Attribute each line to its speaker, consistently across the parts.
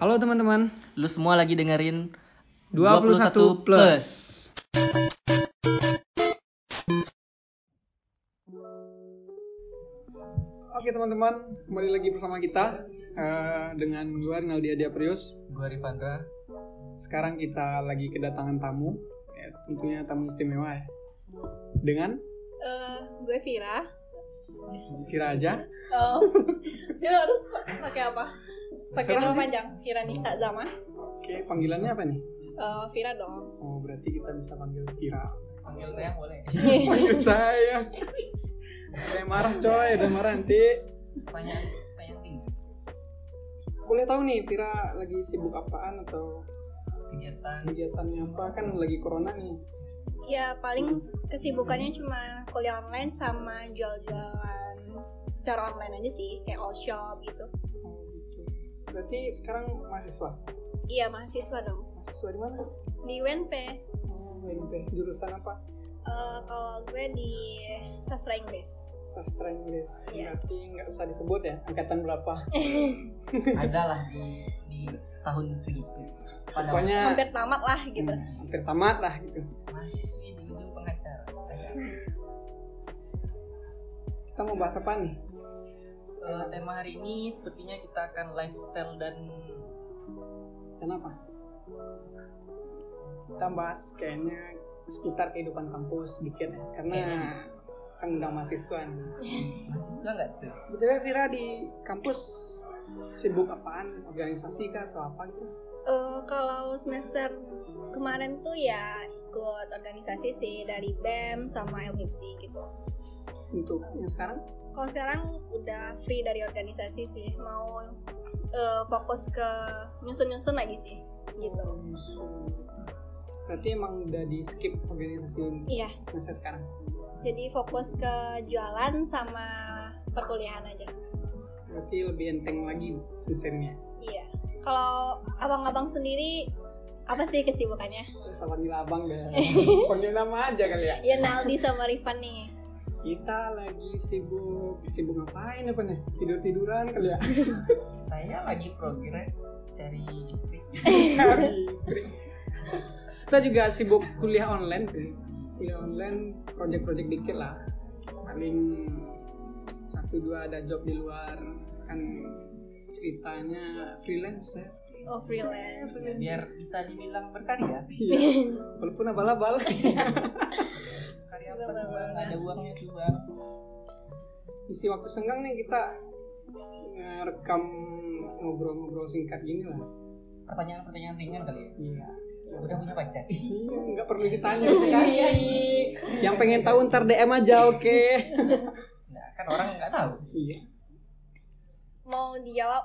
Speaker 1: Halo teman-teman,
Speaker 2: Lu semua lagi dengerin
Speaker 1: 21 plus. Oke teman-teman, kembali lagi bersama kita eh, dengan gue Rinaldi Adi Aprius.
Speaker 2: Gue Rifandra.
Speaker 1: Sekarang kita lagi kedatangan tamu, ya, tentunya tamu istimewa ya. Dengan
Speaker 3: Eh, gue Vira.
Speaker 1: kira aja,
Speaker 3: Oh, dia harus pakai apa? Pakai nama panjang. Vira Nisa Zama.
Speaker 1: oke panggilannya apa nih?
Speaker 3: Eh, Vira dong.
Speaker 1: Oh berarti kita bisa panggil Kira.
Speaker 2: Panggil sayang boleh. ya?
Speaker 1: Panggil saya. Udah marah coy, udah marah nanti.
Speaker 2: Tanya tanya tinggi.
Speaker 1: Boleh tahu nih Kira lagi sibuk apaan atau
Speaker 2: Kegiatan
Speaker 1: kegiatannya apa? Kan lagi corona nih.
Speaker 3: ya paling kesibukannya cuma kuliah online sama jual-jualan secara online aja sih, kayak all shop gitu.
Speaker 1: Oh gitu. Berarti sekarang mahasiswa?
Speaker 3: Iya mahasiswa dong.
Speaker 1: Mahasiswa di mana?
Speaker 3: Di UNP,
Speaker 1: Oh, UNP. Jurusan apa?
Speaker 3: eh, kalau gue di sastra Inggris.
Speaker 1: Sastra Inggris.
Speaker 3: Iya.
Speaker 1: Berarti nggak usah disebut ya, angkatan berapa.
Speaker 2: adalah di di tahun segitu. Pada
Speaker 1: Pokoknya
Speaker 3: Hampir tamat lah gitu.
Speaker 1: Ya. hmm, hampir tamat lah gitu.
Speaker 2: mahasiswi di ujung pengacara.
Speaker 1: Kita mau bahas apa nih?
Speaker 2: Eh, tema hari ini sepertinya kita akan lifestyle dan
Speaker 1: Kenapa? Kita bahas kayaknya seputar kehidupan kampus sedikit ya. Karena
Speaker 2: Kayaknya.
Speaker 1: kan udah mahasiswa nih.
Speaker 2: mahasiswa nggak tuh?
Speaker 1: BTW Vira di kampus sibuk apaan? Organisasi kah atau apa gitu?
Speaker 3: Eh, kalau semester kemarin tuh ya ikut organisasi sih dari BEM sama LMIPSI gitu.
Speaker 1: Untuk yang sekarang?
Speaker 3: Kalau sekarang udah free dari organisasi sih, mau eh, fokus ke nyusun-nyusun lagi sih
Speaker 1: Oh.
Speaker 3: gitu.
Speaker 1: Berarti emang udah di skip organisasi
Speaker 3: Iya,
Speaker 1: masa sekarang.
Speaker 3: jadi fokus ke jualan sama perkuliahan aja.
Speaker 1: Berarti lebih enteng lagi semsternya.
Speaker 3: Iya. Kalau abang-abang sendiri apa sih kesibukannya?
Speaker 1: Sama panggil abang deh. panggil nama aja kali ya.
Speaker 3: Ya Naldi sama Rifan nih.
Speaker 1: Kita lagi sibuk sibuk ngapain apa nih? Tidur tiduran kali ya.
Speaker 2: Saya lagi progres cari istri.
Speaker 1: Cari istri. Kita juga sibuk kuliah online. tuh. Kuliah online, project-project dikit lah. Paling satu dua ada job di luar kan ceritanya freelance ya.
Speaker 3: Oh freelance.
Speaker 2: Biar bisa dibilang berkarya.
Speaker 1: Iya, walaupun abal-abal.
Speaker 2: Berkarya apa tuh bang? Nggak Ada uangnya tuh bang.
Speaker 1: Isi waktu senggang nih kita rekam ngobrol-ngobrol singkat gini lah.
Speaker 2: Pertanyaan-pertanyaan ringan kali ya.
Speaker 1: Iya.
Speaker 2: Udah punya pacar?
Speaker 1: Iya, nggak perlu ditanya sekali.
Speaker 2: Iya.
Speaker 1: Yang pengen tahu ntar DM aja, oke.
Speaker 2: Nah, kan orang nggak tahu.
Speaker 1: Iya.
Speaker 3: Mau dijawab?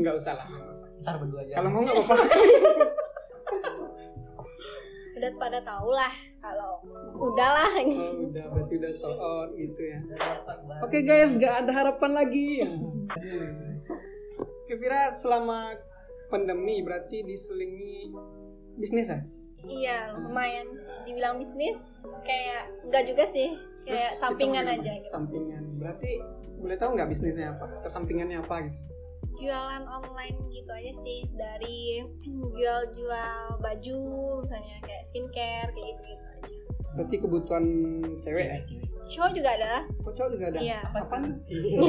Speaker 1: Nggak usah lah. nggak usah.
Speaker 2: Ntar berdua aja.
Speaker 1: Kalau mau nggak apa-apa.
Speaker 3: Udah pada tau lah kalau udahlah.
Speaker 1: Oh, udah berarti udah sold out gitu ya. Oke
Speaker 2: Oke.
Speaker 1: guys, nggak ada harapan lagi. Kevira selama pandemi berarti diselingi bisnis ya?
Speaker 3: Iya lumayan. Dibilang bisnis kayak nggak juga sih.
Speaker 1: Terus
Speaker 3: Kayak
Speaker 1: kita
Speaker 3: sampingan
Speaker 1: mau
Speaker 3: aja
Speaker 1: gimana?
Speaker 3: gitu.
Speaker 1: Sampingan. Berarti boleh tahu nggak bisnisnya apa? Atau sampingannya apa gitu?
Speaker 3: jualan online gitu aja sih dari jual-jual baju misalnya kayak skincare kayak gitu gitu aja
Speaker 1: Berarti kebutuhan cewek ya?
Speaker 2: Cewek-cewek.
Speaker 3: cowok juga ada
Speaker 1: Kok cowok juga ada? Oh,
Speaker 3: iya
Speaker 1: Apa nih?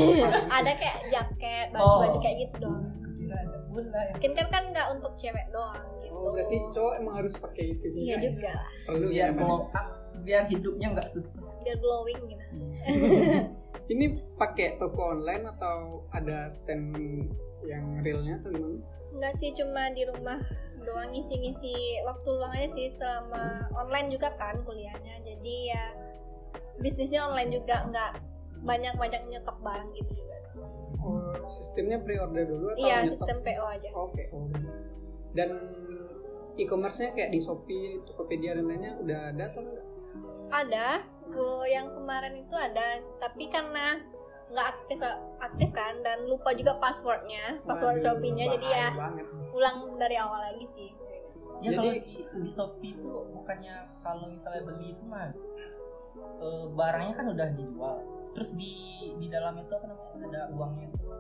Speaker 3: ada kayak jaket baju-baju
Speaker 2: Oh.
Speaker 3: kayak gitu doang
Speaker 2: Kira ada bola ya.
Speaker 3: skincare kan nggak untuk cewek doang gitu
Speaker 1: Oh, berarti cowok emang harus pakai itu juga.
Speaker 3: iya
Speaker 1: ya?
Speaker 3: juga lah
Speaker 1: Perlu ya.
Speaker 2: Biar
Speaker 1: Pak?
Speaker 2: blow up, biar hidupnya nggak susah.
Speaker 3: biar glowing gitu
Speaker 2: Iya,
Speaker 1: Ini pakai toko online atau ada stand yang realnya atau gimana?
Speaker 3: nggak sih cuma di rumah doang ngisi-ngisi waktu luang aja sih selama online juga kan kuliahnya jadi ya bisnisnya online juga nggak banyak-banyak nyetok barang gitu juga sih.
Speaker 1: Oh, sistemnya pre-order dulu atau
Speaker 3: Iya,
Speaker 1: nyetok?
Speaker 3: sistem PO aja.
Speaker 1: Oke. oh. Dan e-commerce-nya kayak di Shopee, Tokopedia dan lainnya udah ada atau enggak?
Speaker 3: Ada, bu yang kemarin itu ada, tapi karena nggak aktif aktif kan dan lupa juga passwordnya, password
Speaker 1: Waduh,
Speaker 3: Shopee-nya jadi ya
Speaker 1: bahaya banget.
Speaker 3: ulang dari awal lagi sih.
Speaker 1: Jadi-
Speaker 2: Ya kalau di, di Shopee itu bukannya kalau misalnya beli itu mah eh, barangnya kan udah dijual. Terus di di dalam itu apa namanya ada uangnya tuh.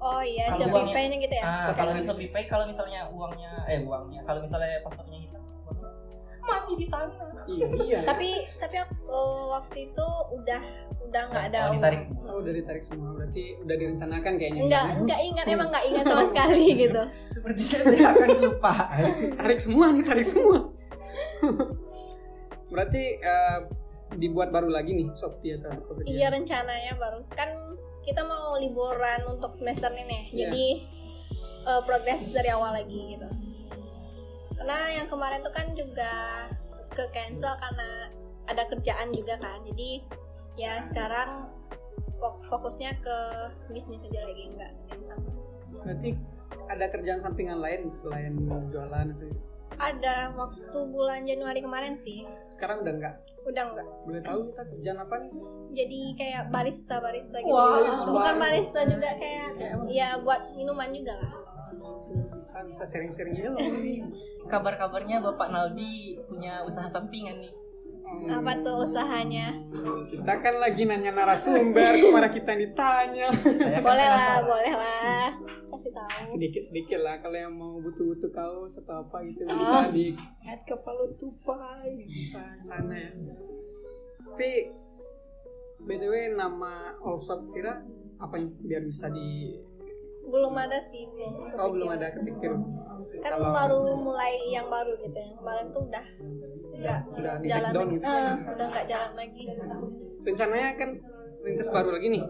Speaker 3: Oh iya,
Speaker 2: Kalau
Speaker 3: Shopee
Speaker 2: uangnya-
Speaker 3: Pay-nya gitu ya.
Speaker 2: Ah,
Speaker 1: Pakai
Speaker 2: kalau di
Speaker 1: lagi.
Speaker 2: Shopee Pay kalau misalnya uangnya eh uangnya kalau misalnya passwordnya hitam uangnya masih di sana.
Speaker 1: iya iya
Speaker 3: Tapi tapi aku eh, waktu itu udah udah nggak ada.
Speaker 2: Kalau ditarik semua.
Speaker 1: oh udah ditarik semua berarti udah direncanakan kayaknya
Speaker 3: Enggak, enggak ingat emang enggak ingat sama sekali gitu.
Speaker 2: Sepertinya saya akan lupa.
Speaker 1: tarik semua nih tarik semua berarti eh, dibuat baru lagi nih Shopee atau Tokopedia
Speaker 3: Iya rencananya baru kan kita mau liburan untuk semester ini,
Speaker 1: Iya.
Speaker 3: jadi eh, progres dari awal lagi gitu. Karena yang kemarin tuh kan juga ke cancel karena ada kerjaan juga kan, jadi ya sekarang fok- fokusnya ke bisnis aja lagi enggak cancel.
Speaker 1: berarti ada kerjaan sampingan lain selain jualan itu
Speaker 3: Ada waktu bulan Januari kemarin sih,
Speaker 1: sekarang udah enggak
Speaker 3: udah enggak.
Speaker 1: boleh tahu kita kerjaan apa nih
Speaker 3: jadi kayak barista barista gitu
Speaker 2: Wow.
Speaker 3: bukan barista juga kayak
Speaker 1: Kayak apa?
Speaker 3: ya buat minuman juga lah
Speaker 1: bisa bisa sharing-sharing aja loh ini.
Speaker 2: Kabar-kabarnya Bapak Naldi punya usaha sampingan nih.
Speaker 1: Hmm.
Speaker 3: apa tuh usahanya
Speaker 1: kita kan lagi nanya narasumber kemana kita yang ditanya
Speaker 2: Saya kan
Speaker 3: boleh lah
Speaker 2: penasaran.
Speaker 3: boleh lah kasih tahu
Speaker 1: sedikit sedikit lah kalau yang mau butuh butuh kaos atau apa gitu
Speaker 3: Oh.
Speaker 1: bisa di add ke palu tupai bisa
Speaker 3: Hmm.
Speaker 1: sana ya tapi btw nama all shop kira apa yang biar bisa di
Speaker 3: belum ada sih belum
Speaker 1: oh belum
Speaker 3: kepikiran.
Speaker 1: ada kepikir
Speaker 3: kan
Speaker 1: Kalau-
Speaker 3: baru mulai yang baru gitu yang kemarin tuh udah nggak
Speaker 1: udah di
Speaker 3: jalan
Speaker 1: down
Speaker 3: lagi
Speaker 1: gitu
Speaker 3: Eh, udah nggak jalan lagi
Speaker 1: rencananya kan lintas baru lagi nih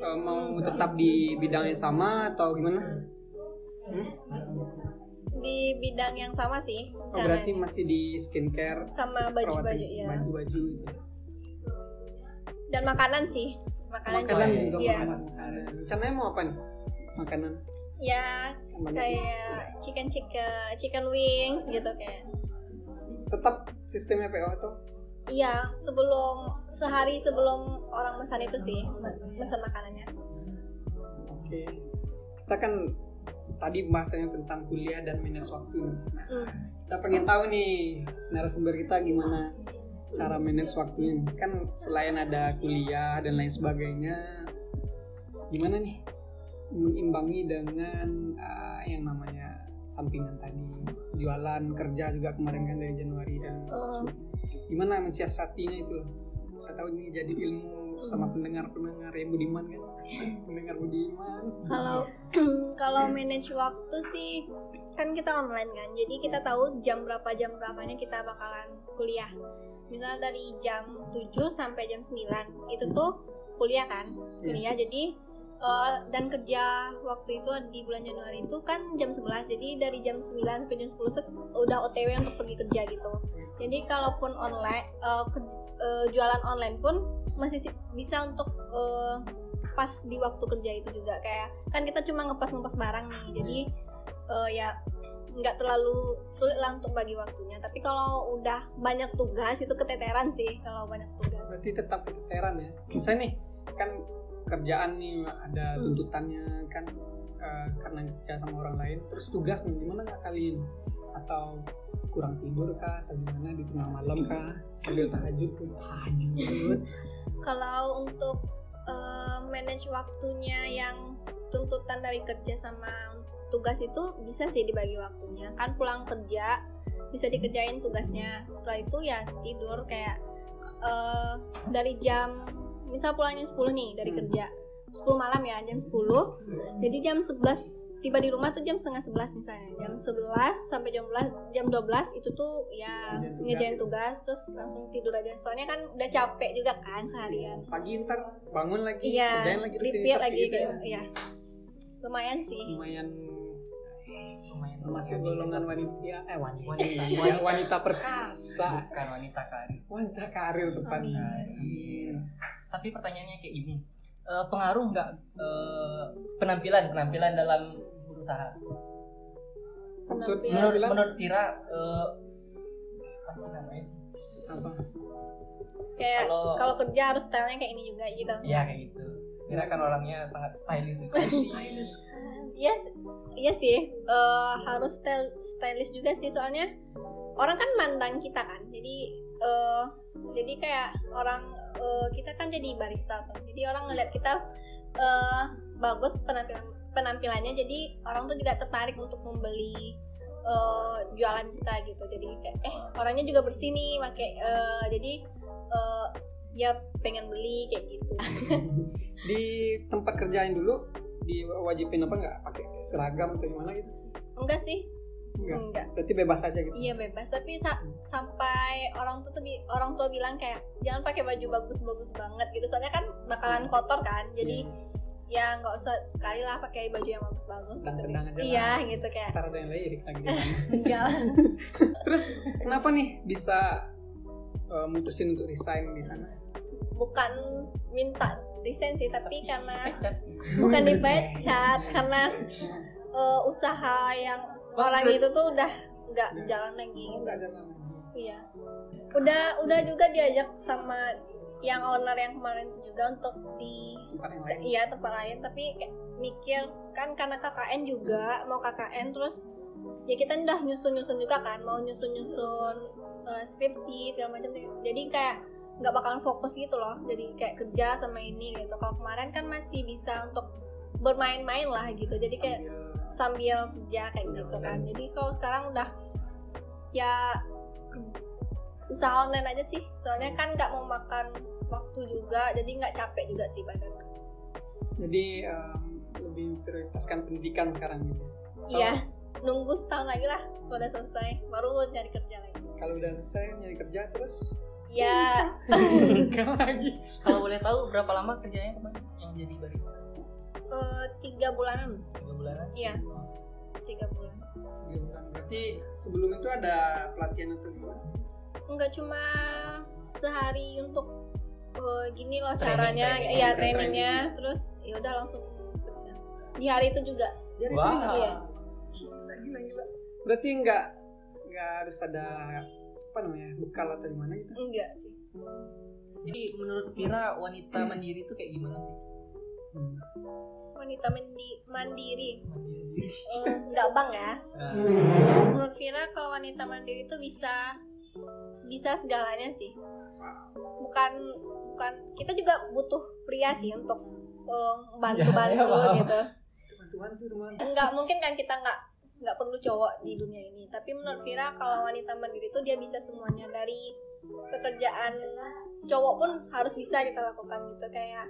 Speaker 1: Eh, mau tetap di bidang yang sama atau gimana Hmm?
Speaker 3: di bidang yang sama sih
Speaker 1: Oh, berarti
Speaker 3: rencananya.
Speaker 1: masih di skincare
Speaker 3: sama ya. baju-baju
Speaker 1: perawatan
Speaker 3: ya
Speaker 1: baju-baju gitu
Speaker 3: dan makanan sih makanan,
Speaker 1: makanan
Speaker 2: juga.
Speaker 1: juga
Speaker 3: Iya.
Speaker 1: makanan rencananya mau apa nih makanan
Speaker 3: ya
Speaker 1: yang banyak.
Speaker 3: kayak chicken chicken chicken wings gitu kayak
Speaker 1: tetap sistemnya PO itu
Speaker 3: iya sebelum sehari sebelum orang pesan itu sih pesan makanannya
Speaker 1: oke kita kan tadi bahasanya tentang kuliah dan manage waktu nah,
Speaker 3: Hmm.
Speaker 1: kita pengen tahu nih narasumber kita gimana cara manage waktunya kan selain ada kuliah dan lain sebagainya gimana nih mengimbangi dengan ah, yang namanya sampingan tadi jualan kerja juga kemarin kan dari Januari dan
Speaker 3: Oh.
Speaker 1: gimana mensiasatinya itu saya tahu ini jadi ilmu sama pendengar pendengar yang budiman kan pendengar budiman
Speaker 3: kalau kalau manage waktu sih kan kita online kan jadi kita tahu jam berapa jam berapanya kita bakalan kuliah misalnya dari jam 7 sampai jam 9 itu tuh kuliah kan kuliah jadi eh, dan kerja waktu itu di bulan Januari itu kan jam 11 jadi dari jam 9 sampai jam 10 tuh udah OTW untuk pergi kerja gitu jadi kalaupun online eh, ker- eh, jualan online pun masih si- bisa untuk eh, pas di waktu kerja itu juga kayak kan kita cuma ngepas-ngepas barang nih jadi eh, ya nggak terlalu sulit lah untuk bagi waktunya tapi kalau udah banyak tugas itu keteteran sih kalau banyak tugas
Speaker 1: berarti tetap keteran ya bisa nih kan kerjaan nih ada
Speaker 3: Hmm.
Speaker 1: tuntutannya kan eh, karena kerja sama orang lain terus tugas nih gimana ngakalin atau kurang tidur kah atau gimana di tengah malam kah sambil tahajud tahajud
Speaker 3: kalau untuk eh, manage waktunya yang tuntutan dari kerja sama tugas itu bisa sih dibagi waktunya kan pulang kerja bisa dikerjain tugasnya setelah itu ya tidur kayak eh, dari jam misal pulang jam 10 nih dari
Speaker 1: Hmm.
Speaker 3: kerja 10 malam ya jam 10 jadi jam 11 tiba di rumah tuh jam setengah 11 misalnya jam 11 sampai jam 11 jam 12 itu tuh ya
Speaker 1: Ngerjain tugas.
Speaker 3: ngejain tugas terus langsung tidur aja soalnya kan udah capek juga kan seharian
Speaker 1: pagi ntar bangun lagi
Speaker 3: iya
Speaker 1: kerjain lagi
Speaker 3: repeat
Speaker 1: rutinitas
Speaker 3: lagi
Speaker 1: gitu Hmm.
Speaker 3: kayak- iya lumayan sih
Speaker 1: lumayan
Speaker 3: Iya.
Speaker 2: Lumayan
Speaker 1: termasuk
Speaker 2: lumayan
Speaker 1: golongan
Speaker 2: bisa.
Speaker 1: wanita eh wanita
Speaker 2: Wanita,
Speaker 3: Iya.
Speaker 1: wanita, wanita
Speaker 3: Nah,
Speaker 1: perkasa
Speaker 2: bukan wanita karir.
Speaker 1: wanita karir tepatnya Iya.
Speaker 2: Tapi pertanyaannya kayak gini. Eh, pengaruh nggak eh, penampilan penampilan dalam berusaha?
Speaker 1: maksud
Speaker 2: Menurut
Speaker 3: Penampilan.
Speaker 1: penampilan
Speaker 2: menurut Kira eh, apa sih namanya? sih?
Speaker 1: apa
Speaker 3: kayak
Speaker 2: Kalau-
Speaker 3: kalau kerja harus stylenya kayak ini juga gitu
Speaker 2: Iya kayak gitu. Kira kan orangnya sangat stylish. stylish.
Speaker 3: Iya, s- iya sih. Eh, harus stel- stylish juga sih soalnya orang kan mandang kita kan. Jadi eh, jadi kayak orang eh, kita kan jadi barista tuh. Jadi orang ngeliat kita eh, bagus penampilan penampilannya jadi orang tuh juga tertarik untuk membeli eh, jualan kita gitu jadi kayak eh orangnya juga bersih nih pakai eh, jadi eh, ya pengen beli kayak gitu
Speaker 1: di tempat kerjain dulu diwajibin apa nggak pakai seragam atau gimana gitu
Speaker 3: enggak sih
Speaker 1: enggak
Speaker 3: enggak
Speaker 1: berarti bebas aja gitu
Speaker 3: Iya bebas, tapi sa- sampai orang tua tuh bi- orang tua bilang kayak jangan pakai baju bagus-bagus banget gitu, soalnya kan
Speaker 1: Hmm.
Speaker 3: bakalan kotor kan, jadi
Speaker 1: Iya.
Speaker 3: ya nggak usah kali lah pakai baju yang bagus-bagus. gitu.
Speaker 1: Sedang-sedang aja lah.
Speaker 3: Iya gitu kayak
Speaker 1: ntar ada yang lirik lagi
Speaker 3: enggak.
Speaker 1: gitu. terus kenapa nih bisa eh, mutusin untuk resign di sana
Speaker 3: bukan minta desain sih, tapi karena
Speaker 2: pecat
Speaker 3: bukan dipecat
Speaker 1: gitu.
Speaker 3: karena eh, usaha yang orang itu tuh udah nggak jalan lagi
Speaker 1: Oh,
Speaker 3: gitu.
Speaker 1: nggak ada nama.
Speaker 3: Iya. Udah udah juga diajak sama yang owner yang kemarin itu juga untuk di
Speaker 1: Tempat yang lain.
Speaker 3: iya tempat lain tapi kayak mikir kan karena KKN juga mau KKN terus ya kita udah nyusun-nyusun juga kan mau nyusun-nyusun eh, skripsi segala macam jadi kayak nggak bakalan fokus gitu loh jadi kayak kerja sama ini gitu kalau kemarin kan masih bisa untuk bermain-main lah gitu jadi kayak
Speaker 1: Sambil-
Speaker 3: sambil kerja kayak gitu kan jadi kalau sekarang udah ya usaha online aja sih soalnya kan nggak mau makan waktu juga jadi nggak capek juga sih badan
Speaker 1: jadi em, lebih prioritaskan pendidikan sekarang gitu
Speaker 3: iya nunggu setahun lagi lah kalau udah selesai baru mau cari kerja lagi
Speaker 1: kalau udah selesai nyari kerja terus
Speaker 3: ya
Speaker 1: nikah lagi
Speaker 2: kalau boleh tahu berapa lama kerjanya kemarin yang jadi barista
Speaker 3: eh, tiga bulanan
Speaker 2: tiga bulanan
Speaker 3: Iya. tiga bulan
Speaker 1: Tiga bulan. Iya, berarti sebelum itu ada pelatihan atau gimana
Speaker 3: nggak cuma sehari untuk eh, gini loh
Speaker 2: Training,
Speaker 3: caranya
Speaker 2: training.
Speaker 3: iya
Speaker 1: Training.
Speaker 3: trainingnya terus ya udah langsung kerja di hari itu juga
Speaker 1: Jadi
Speaker 2: Wah.
Speaker 1: itu
Speaker 3: Iya.
Speaker 1: nggak- Gila, gila, gila. Berarti nggak nggak harus ada apa namanya bekal atau gimana gitu?
Speaker 3: enggak sih
Speaker 2: jadi menurut Vira wanita
Speaker 3: Hmm.
Speaker 2: mandiri itu kayak gimana sih
Speaker 1: Hmm.
Speaker 3: wanita mandi- mandiri
Speaker 2: mandiri
Speaker 3: Eh, nggak bang ya
Speaker 2: Nah,
Speaker 3: menurut Vira kalau wanita mandiri itu bisa bisa segalanya sih bukan bukan kita juga butuh pria sih untuk bantu bantu
Speaker 2: Ya, ya,
Speaker 3: gitu
Speaker 1: Tuhan tuh teman.
Speaker 3: nggak mungkin kan kita nggak nggak perlu cowok di dunia ini tapi menurut Vira kalau wanita mandiri itu dia bisa semuanya dari pekerjaan cowok pun harus bisa kita lakukan gitu kayak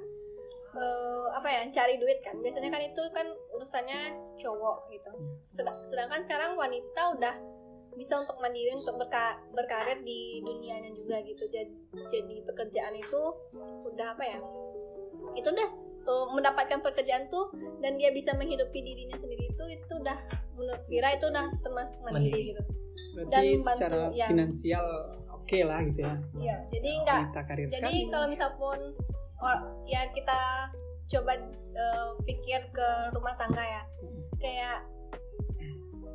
Speaker 3: eh, apa ya cari duit kan biasanya kan itu kan urusannya cowok gitu Sedang- sedangkan sekarang wanita udah bisa untuk mandiri untuk berka- berkarir di dunianya juga gitu jadi, jadi pekerjaan itu udah apa ya itu udah eh, mendapatkan pekerjaan tuh dan dia bisa menghidupi dirinya sendiri itu itu udah menurut Vira itu udah termasuk mandiri
Speaker 2: Mandiri.
Speaker 3: gitu Dan
Speaker 1: Berarti
Speaker 3: membantu,
Speaker 1: secara
Speaker 3: ya.
Speaker 1: finansial oke lah gitu ya.
Speaker 3: Iya, jadi enggak
Speaker 1: Wanita karir
Speaker 3: jadi
Speaker 1: sekali.
Speaker 3: kalau misal pun or- ya kita coba eh, pikir ke rumah tangga ya kayak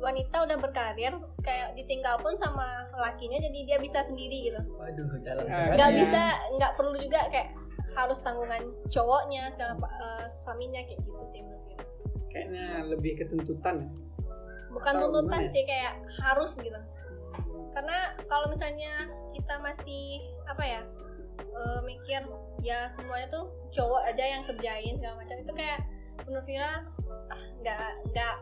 Speaker 3: wanita udah berkarir kayak ditinggal pun sama lakinya jadi dia bisa sendiri gitu
Speaker 2: waduh dalam
Speaker 1: Nggak
Speaker 2: sekali.
Speaker 3: nggak
Speaker 1: Iya.
Speaker 3: bisa nggak perlu juga kayak harus tanggungan cowoknya segala pa- eh, suaminya kayak gitu sih menurut Vira.
Speaker 1: kayaknya lebih ya. ketuntutan.
Speaker 3: bukan
Speaker 1: Atau
Speaker 3: tuntutan
Speaker 1: gimana ya?
Speaker 3: sih kayak harus gitu karena kalau misalnya kita masih apa ya eh, mikir ya semuanya tuh cowok aja yang kerjain segala macam itu kayak menurut Vira ah nggak nggak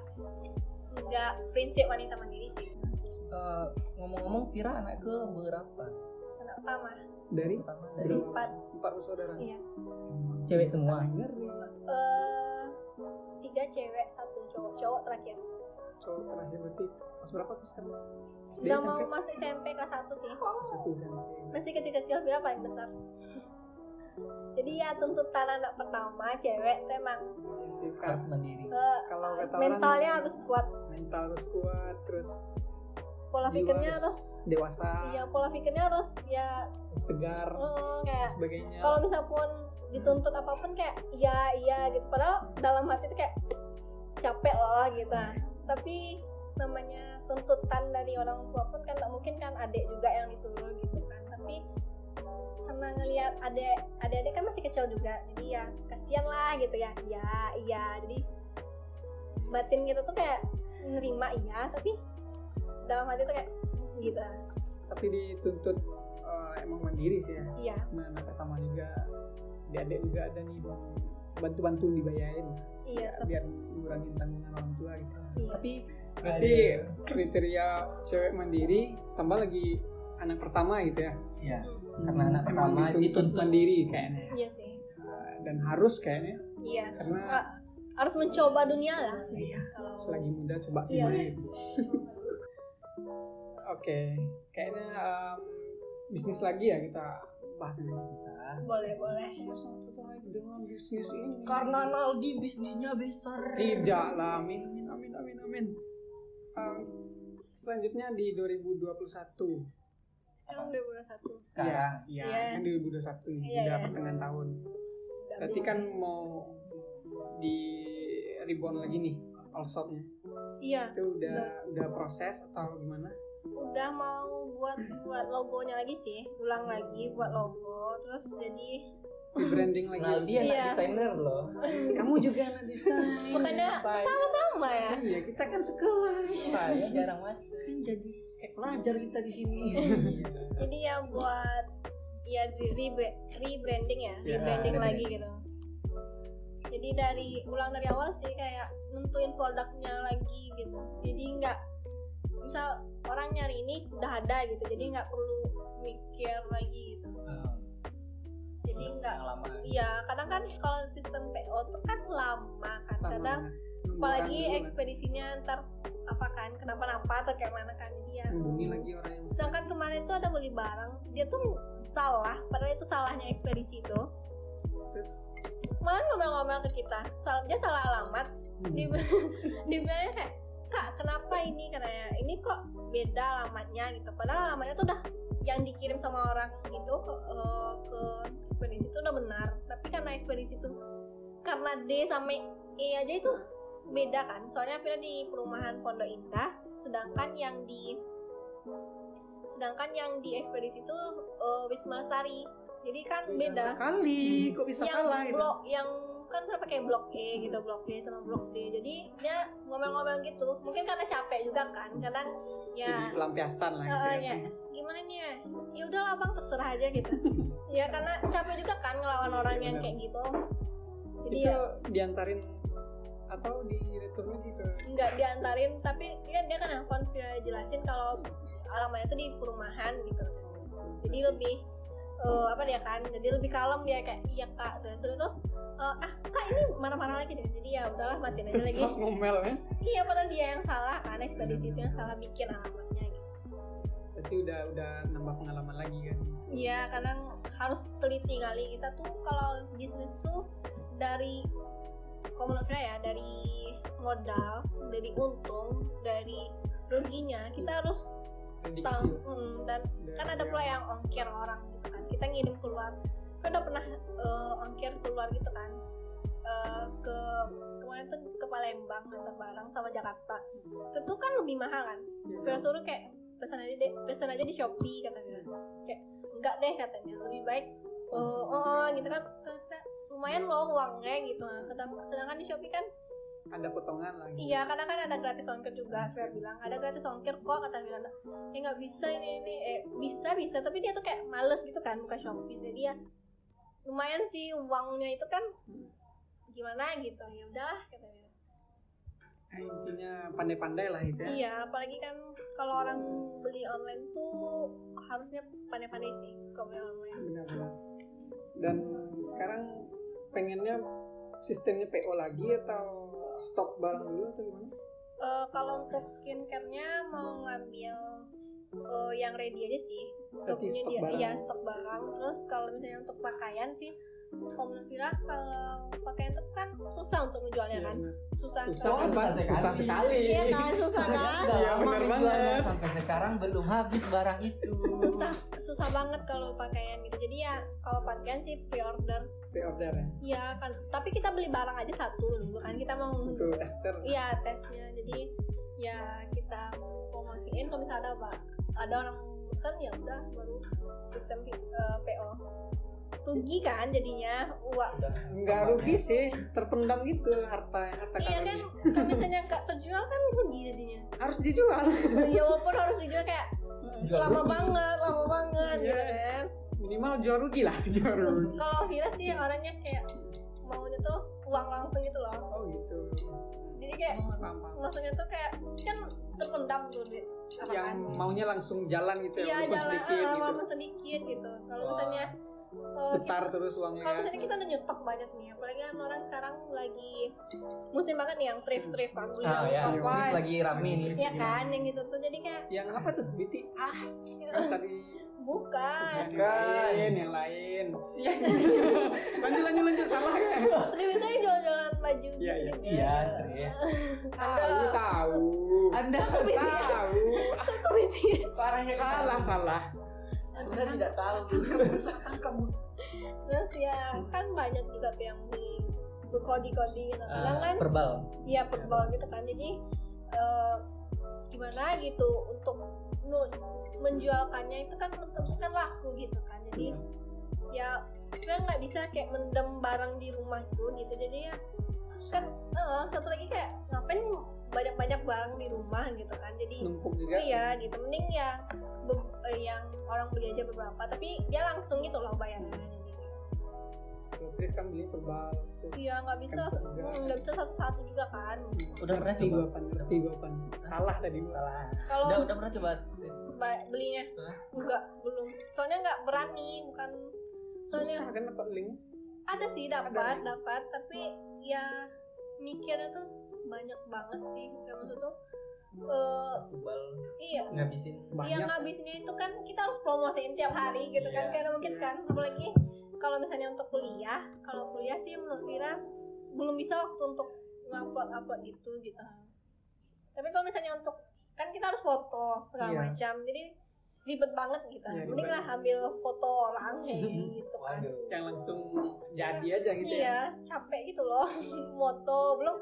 Speaker 3: nggak prinsip wanita mandiri sih
Speaker 2: Eh, ngomong-ngomong Vira anak ke berapa
Speaker 3: anak pertama
Speaker 1: Dari
Speaker 2: pertama dari
Speaker 1: berapa?
Speaker 3: empat
Speaker 1: empat bersaudara. Hmm.
Speaker 3: Iya.
Speaker 2: cewek semua
Speaker 1: Ngeri.
Speaker 3: eh, tiga cewek satu cowok cowok terakhir
Speaker 1: Cowok terakhir berarti pas berapa tuh sekarang? SD,
Speaker 3: udah mau
Speaker 1: SMP?
Speaker 3: masuk SMP kelas satu sih
Speaker 1: Satu SMP.
Speaker 3: masih kecil-kecil Vira paling besar jadi ya tuntutan anak pertama cewek itu emang
Speaker 1: Iya sih, Kak.
Speaker 2: harus mandiri
Speaker 3: eh,
Speaker 1: Kalau kata orang
Speaker 3: mentalnya harus kuat
Speaker 1: mental harus kuat, terus
Speaker 3: pola
Speaker 1: jiwa
Speaker 3: pikirnya harus
Speaker 1: dewasa,
Speaker 3: iya pola pikirnya harus ya
Speaker 1: harus tegar,
Speaker 3: eh, kayak
Speaker 1: sebagainya.
Speaker 3: kalau misal pun dituntut apapun kayak iya iya gitu padahal dalam hati itu kayak capek loh gitu tapi namanya tuntutan dari orang tua pun kan nggak mungkin kan adik juga yang disuruh gitu kan tapi karena ngelihat adik adik-adik kan masih kecil juga jadi ya kasihan lah gitu ya iya iya jadi batin gitu tuh kayak nerima iya tapi dalam hati tuh kayak "Hmm," gitu
Speaker 1: tapi dituntut eh, emang mandiri sih ya
Speaker 3: iya
Speaker 1: sama anak pertama juga di adik juga ada nih bantu-bantu dibayarin
Speaker 3: iya tapi
Speaker 1: biar ngurangin tanggungan orang tua gitu
Speaker 3: iya.
Speaker 2: Tapi
Speaker 1: berarti kriteria cewek mandiri tambah lagi anak pertama gitu ya
Speaker 2: ya
Speaker 3: Hmm,
Speaker 2: Karena anak
Speaker 1: Emang
Speaker 2: pertama
Speaker 1: dituntut
Speaker 2: dituntut.
Speaker 1: mandiri kayaknya
Speaker 3: iya sih
Speaker 1: Uh, dan harus kayaknya
Speaker 3: iya
Speaker 1: karena
Speaker 3: Ah, harus mencoba dunia lah
Speaker 1: Iya.
Speaker 3: kalau
Speaker 1: selagi muda coba
Speaker 3: Iya.
Speaker 1: semuanya gitu. oke kayaknya um, bisnis lagi ya kita bahas ini
Speaker 3: Eh,
Speaker 2: bisa.
Speaker 3: boleh boleh
Speaker 1: satu lagi dengan bisnis ini
Speaker 2: Naldi bisnisnya besar.
Speaker 3: Iya.
Speaker 1: Tidak lah, amin, amin, amin, amin, amin. Um, selanjutnya di 2021.
Speaker 3: sekarang udah bulan satu
Speaker 2: Sekarang.
Speaker 1: Iya,
Speaker 3: Iya.
Speaker 1: kan di 2021 nih,
Speaker 3: Iya,
Speaker 1: udah
Speaker 3: iya.
Speaker 1: pertengahan tahun. Berarti kan mau di reborn lagi nih, all shopnya.
Speaker 3: iya
Speaker 1: Itu udah udah proses atau gimana?
Speaker 3: udah mau buat buat logonya lagi sih ulang lagi buat logo terus jadi
Speaker 1: Di branding lagi.
Speaker 2: Naldi anak
Speaker 3: Iya.
Speaker 2: desainer loh.
Speaker 1: Kamu juga anak desain.
Speaker 3: Bukannya
Speaker 2: Saya-
Speaker 3: sama-sama ya
Speaker 1: Iya, kita kan sekolah.
Speaker 2: Saya jarang mas.
Speaker 1: jadi kayak pelajar kita di sini.
Speaker 3: jadi ya buat ya di- rebra- rebranding ya
Speaker 1: Ya,
Speaker 3: rebranding
Speaker 2: rebranding.
Speaker 3: lagi gitu jadi dari ulang dari awal sih kayak nentuin produknya lagi gitu jadi nggak misal orang nyari ini udah ada gitu jadi nggak perlu mikir lagi gitu jadi nggak
Speaker 2: lama.
Speaker 3: Iya, kadang kan kalau sistem PO tuh kan lama kan. Kadang apalagi
Speaker 1: apalagi
Speaker 3: ekspedisinya ntar apa kan kenapa-napa atau kayak mana kan dia.
Speaker 1: hubungi Iya, lagi orang yang
Speaker 3: Sedangkan kemarin tuh ada beli barang, dia tuh salah, padahal itu salahnya ekspedisi itu.
Speaker 1: Terus,
Speaker 3: Malah ngomel-ngomel ke kita, salah dia salah alamat. Di dibilangnya kayak kak kenapa ini katanya ini kok beda alamatnya gitu padahal alamatnya tuh udah yang dikirim sama orang itu ke, eh, ke ekspedisi itu udah benar tapi karena ekspedisi itu karena D sampai E aja itu beda kan soalnya akhirnya di perumahan Pondok Indah sedangkan yang di sedangkan yang di ekspedisi itu eh, Wisma Lestari jadi kan beda
Speaker 1: sekali kok bisa
Speaker 3: yang
Speaker 1: salah gitu
Speaker 3: blok yang kan pernah pakai blok E gitu blok D sama blok D jadi dia ngomel-ngomel gitu mungkin karena capek juga kan kadang
Speaker 1: jadi
Speaker 3: ya
Speaker 1: pelampiasan lah gitu
Speaker 3: eh,
Speaker 1: ya
Speaker 3: ya gimana nih ya ya udahlah bang terserah aja gitu ya karena capek juga kan ngelawan orang yang kayak gitu jadi
Speaker 1: itu
Speaker 3: ya
Speaker 1: diantarin atau di retur lagi ke
Speaker 3: nggak diantarin tapi dia dia kan nelfon dia jelasin kalau alamatnya itu di perumahan gitu jadi lebih eh, apa dia kan jadi lebih kalem dia kayak iya kak terus udah tuh eh, ah kak ini marah-marah lagi deh jadi ya udahlah matiin aja lagi
Speaker 1: Tetap ngomel ya
Speaker 3: iya padahal dia yang salah kan ekspedisi itu yang salah bikin alamatnya gitu
Speaker 1: berarti udah udah nambah pengalaman lagi kan
Speaker 3: iya kadang harus teliti kali kita tuh kalau bisnis tuh dari kalau menurut saya ya dari modal dari untung dari ruginya kita harus tahu
Speaker 1: prediksi ya.
Speaker 3: mm, dan kan ada pula yang ongkir orang gitu kan kita ngirim keluar kan udah pernah eh, ongkir keluar gitu kan Eh, ke kemarin tuh ke Palembang antar barang sama Jakarta itu tuh kan lebih mahal kan Vira suruh kayak pesan aja deh pesan aja di Shopee kata Vira kayak enggak deh katanya lebih baik oh, oh, oh, gitu kan kata, lumayan loh uangnya gitu kan sedangkan di Shopee kan
Speaker 1: ada potongan lagi
Speaker 3: Iya, karena kan ada gratis ongkir juga. Fira bilang ada gratis ongkir kok kata Fira. Ya nggak bisa ini ini eh bisa bisa tapi dia tuh kayak males gitu kan buka Shopee. Jadi ya lumayan sih uangnya itu kan gimana gitu. Ya udahlah kata Fira.
Speaker 1: Nah, intinya pandai-pandai lah gitu ya
Speaker 3: Iya, apalagi kan kalau orang beli online tuh harusnya pandai-pandai sih kalau beli online.
Speaker 1: benar-benar dan sekarang pengennya sistemnya PO lagi atau stok barang dulu atau gimana?
Speaker 3: Eh, kalau untuk skincare-nya mau ngambil eh, yang ready aja sih.
Speaker 1: Berarti
Speaker 3: Untuknya
Speaker 1: stok
Speaker 3: dia,
Speaker 1: barang.
Speaker 3: iya stok barang. Terus kalau misalnya untuk pakaian sih, kalau menurut Vira kalau pakaian itu kan susah untuk menjualnya
Speaker 1: Iya,
Speaker 3: kan,
Speaker 1: benar.
Speaker 3: susah.
Speaker 1: Susah,
Speaker 3: kan?
Speaker 1: kan? susah sekali.
Speaker 3: Iya kan, susah kan?
Speaker 2: Udah
Speaker 1: Iya,
Speaker 2: lama
Speaker 1: bener
Speaker 2: dijualnya,
Speaker 1: banget.
Speaker 2: sampai sekarang belum habis barang itu.
Speaker 3: Susah, susah banget kalau pakaian gitu. Jadi ya kalau pakaian sih pre-order.
Speaker 1: Pre-order ya.
Speaker 3: Iya kan, tapi kita beli barang aja satu dulu kan kita mau
Speaker 1: Untuk tester.
Speaker 3: iya tesnya jadi ya kita promosiin kalau misalnya ada apa ada orang pesan ya udah baru sistem eh, PO rugi kan jadinya uang
Speaker 2: Udah,
Speaker 1: Nggak rugi sih, terpendam gitu harta harta
Speaker 3: iya
Speaker 1: karunnya.
Speaker 3: kan kalau misalnya nggak terjual kan rugi jadinya
Speaker 1: Harus dijual.
Speaker 3: ya walaupun harus dijual kayak
Speaker 2: Juga
Speaker 3: lama
Speaker 2: rugi.
Speaker 3: banget lama banget gitu
Speaker 1: Iya.
Speaker 3: kan
Speaker 1: Minimal jual rugi lah, jual rugi.
Speaker 3: kalau Vira sih orangnya kayak maunya tuh uang langsung gitu loh
Speaker 1: oh gitu
Speaker 3: jadi kayak
Speaker 1: paham paham
Speaker 3: maksudnya tuh kayak kan terpendam tuh duit apa
Speaker 1: yang
Speaker 3: kan?
Speaker 1: maunya langsung jalan gitu
Speaker 3: iya
Speaker 1: ya walaupun
Speaker 3: jalan
Speaker 1: sedikit gitu
Speaker 3: eh, walaupun sedikit gitu kalau
Speaker 2: Wah.
Speaker 3: misalnya eh,
Speaker 1: getar
Speaker 3: kita-
Speaker 1: terus uangnya
Speaker 3: kalau
Speaker 1: kan.
Speaker 3: misalnya kita udah nyetok banyak nih apalagi kan orang sekarang lagi musim banget nih yang thrift thrift
Speaker 1: Ah,
Speaker 3: kan beli
Speaker 1: iya,
Speaker 2: Nah, ya,
Speaker 3: apa
Speaker 2: ini lagi rame nih.
Speaker 3: ya kan yang gitu tuh jadi kayak
Speaker 1: yang apa tuh BT
Speaker 3: ah
Speaker 1: bisa di
Speaker 3: bukan
Speaker 1: yang lain yang lain lanjut lanjut lanjut salah ya
Speaker 3: thrift itu yang jual-jualan baju
Speaker 1: Iya, iya.
Speaker 3: gitu
Speaker 2: Iya, Tri.
Speaker 1: tahu tahu
Speaker 2: Anda
Speaker 1: tahu
Speaker 3: ya.
Speaker 2: parahnya
Speaker 1: salah salah
Speaker 2: ya. Anda tidak tahu. Eh,
Speaker 3: terus ya kan banyak juga tuh yang beli berkodi-kodi gitu kadang
Speaker 2: Ah,
Speaker 3: kan
Speaker 2: Verbal.
Speaker 3: Iya perbal gitu kan jadi eh, gimana gitu untuk nu- menjualkannya itu kan tentu kan laku gitu kan jadi
Speaker 1: Iya.
Speaker 3: ya kita nggak bisa kayak mendem barang di rumahku gitu jadi ya kan eh, satu lagi kayak ngapain banyak-banyak barang di rumah gitu kan jadi
Speaker 1: numpuk juga
Speaker 3: iya gitu mending ya be- eh, yang orang beli aja beberapa tapi dia langsung gitu loh bayarnya jadi
Speaker 1: Terus kan beli perbal terus
Speaker 3: iya nggak bisa
Speaker 1: Kan Iya.
Speaker 3: hmm,
Speaker 1: segar.
Speaker 3: nggak bisa satu-satu juga kan
Speaker 2: Udah pernah
Speaker 1: ngerti
Speaker 2: coba?
Speaker 1: gua pan ngerti gua pan salah tadi gua
Speaker 2: Salah.
Speaker 3: kalau
Speaker 2: Udah udah pernah coba?
Speaker 3: ba- belinya
Speaker 2: Hah?
Speaker 3: enggak belum soalnya nggak berani bukan soalnya
Speaker 1: susah kan dapat link
Speaker 3: ada sih
Speaker 1: Ada
Speaker 3: dapat
Speaker 1: link.
Speaker 3: dapat tapi ya mikirnya tuh banyak banget sih kayak maksud tuh eh,
Speaker 2: Verbal
Speaker 3: iya
Speaker 2: ngabisin.
Speaker 1: banyak
Speaker 3: yang ngabisinnya itu kan kita harus promosiin tiap hari gitu kan
Speaker 2: Iya.
Speaker 3: karena mungkin kan apalagi kalau misalnya untuk kuliah kalau kuliah sih menurut Mira belum bisa waktu untuk ngupload upload gitu gitu tapi kalau misalnya untuk kan kita harus foto segala
Speaker 1: Iya.
Speaker 3: macam jadi ribet banget gitu
Speaker 1: Iya,
Speaker 3: mending
Speaker 1: ribet.
Speaker 3: lah ambil foto orang kayak gitu kan
Speaker 2: Waduh.
Speaker 1: yang langsung jadi aja gitu ya
Speaker 3: iya capek gitu loh foto belum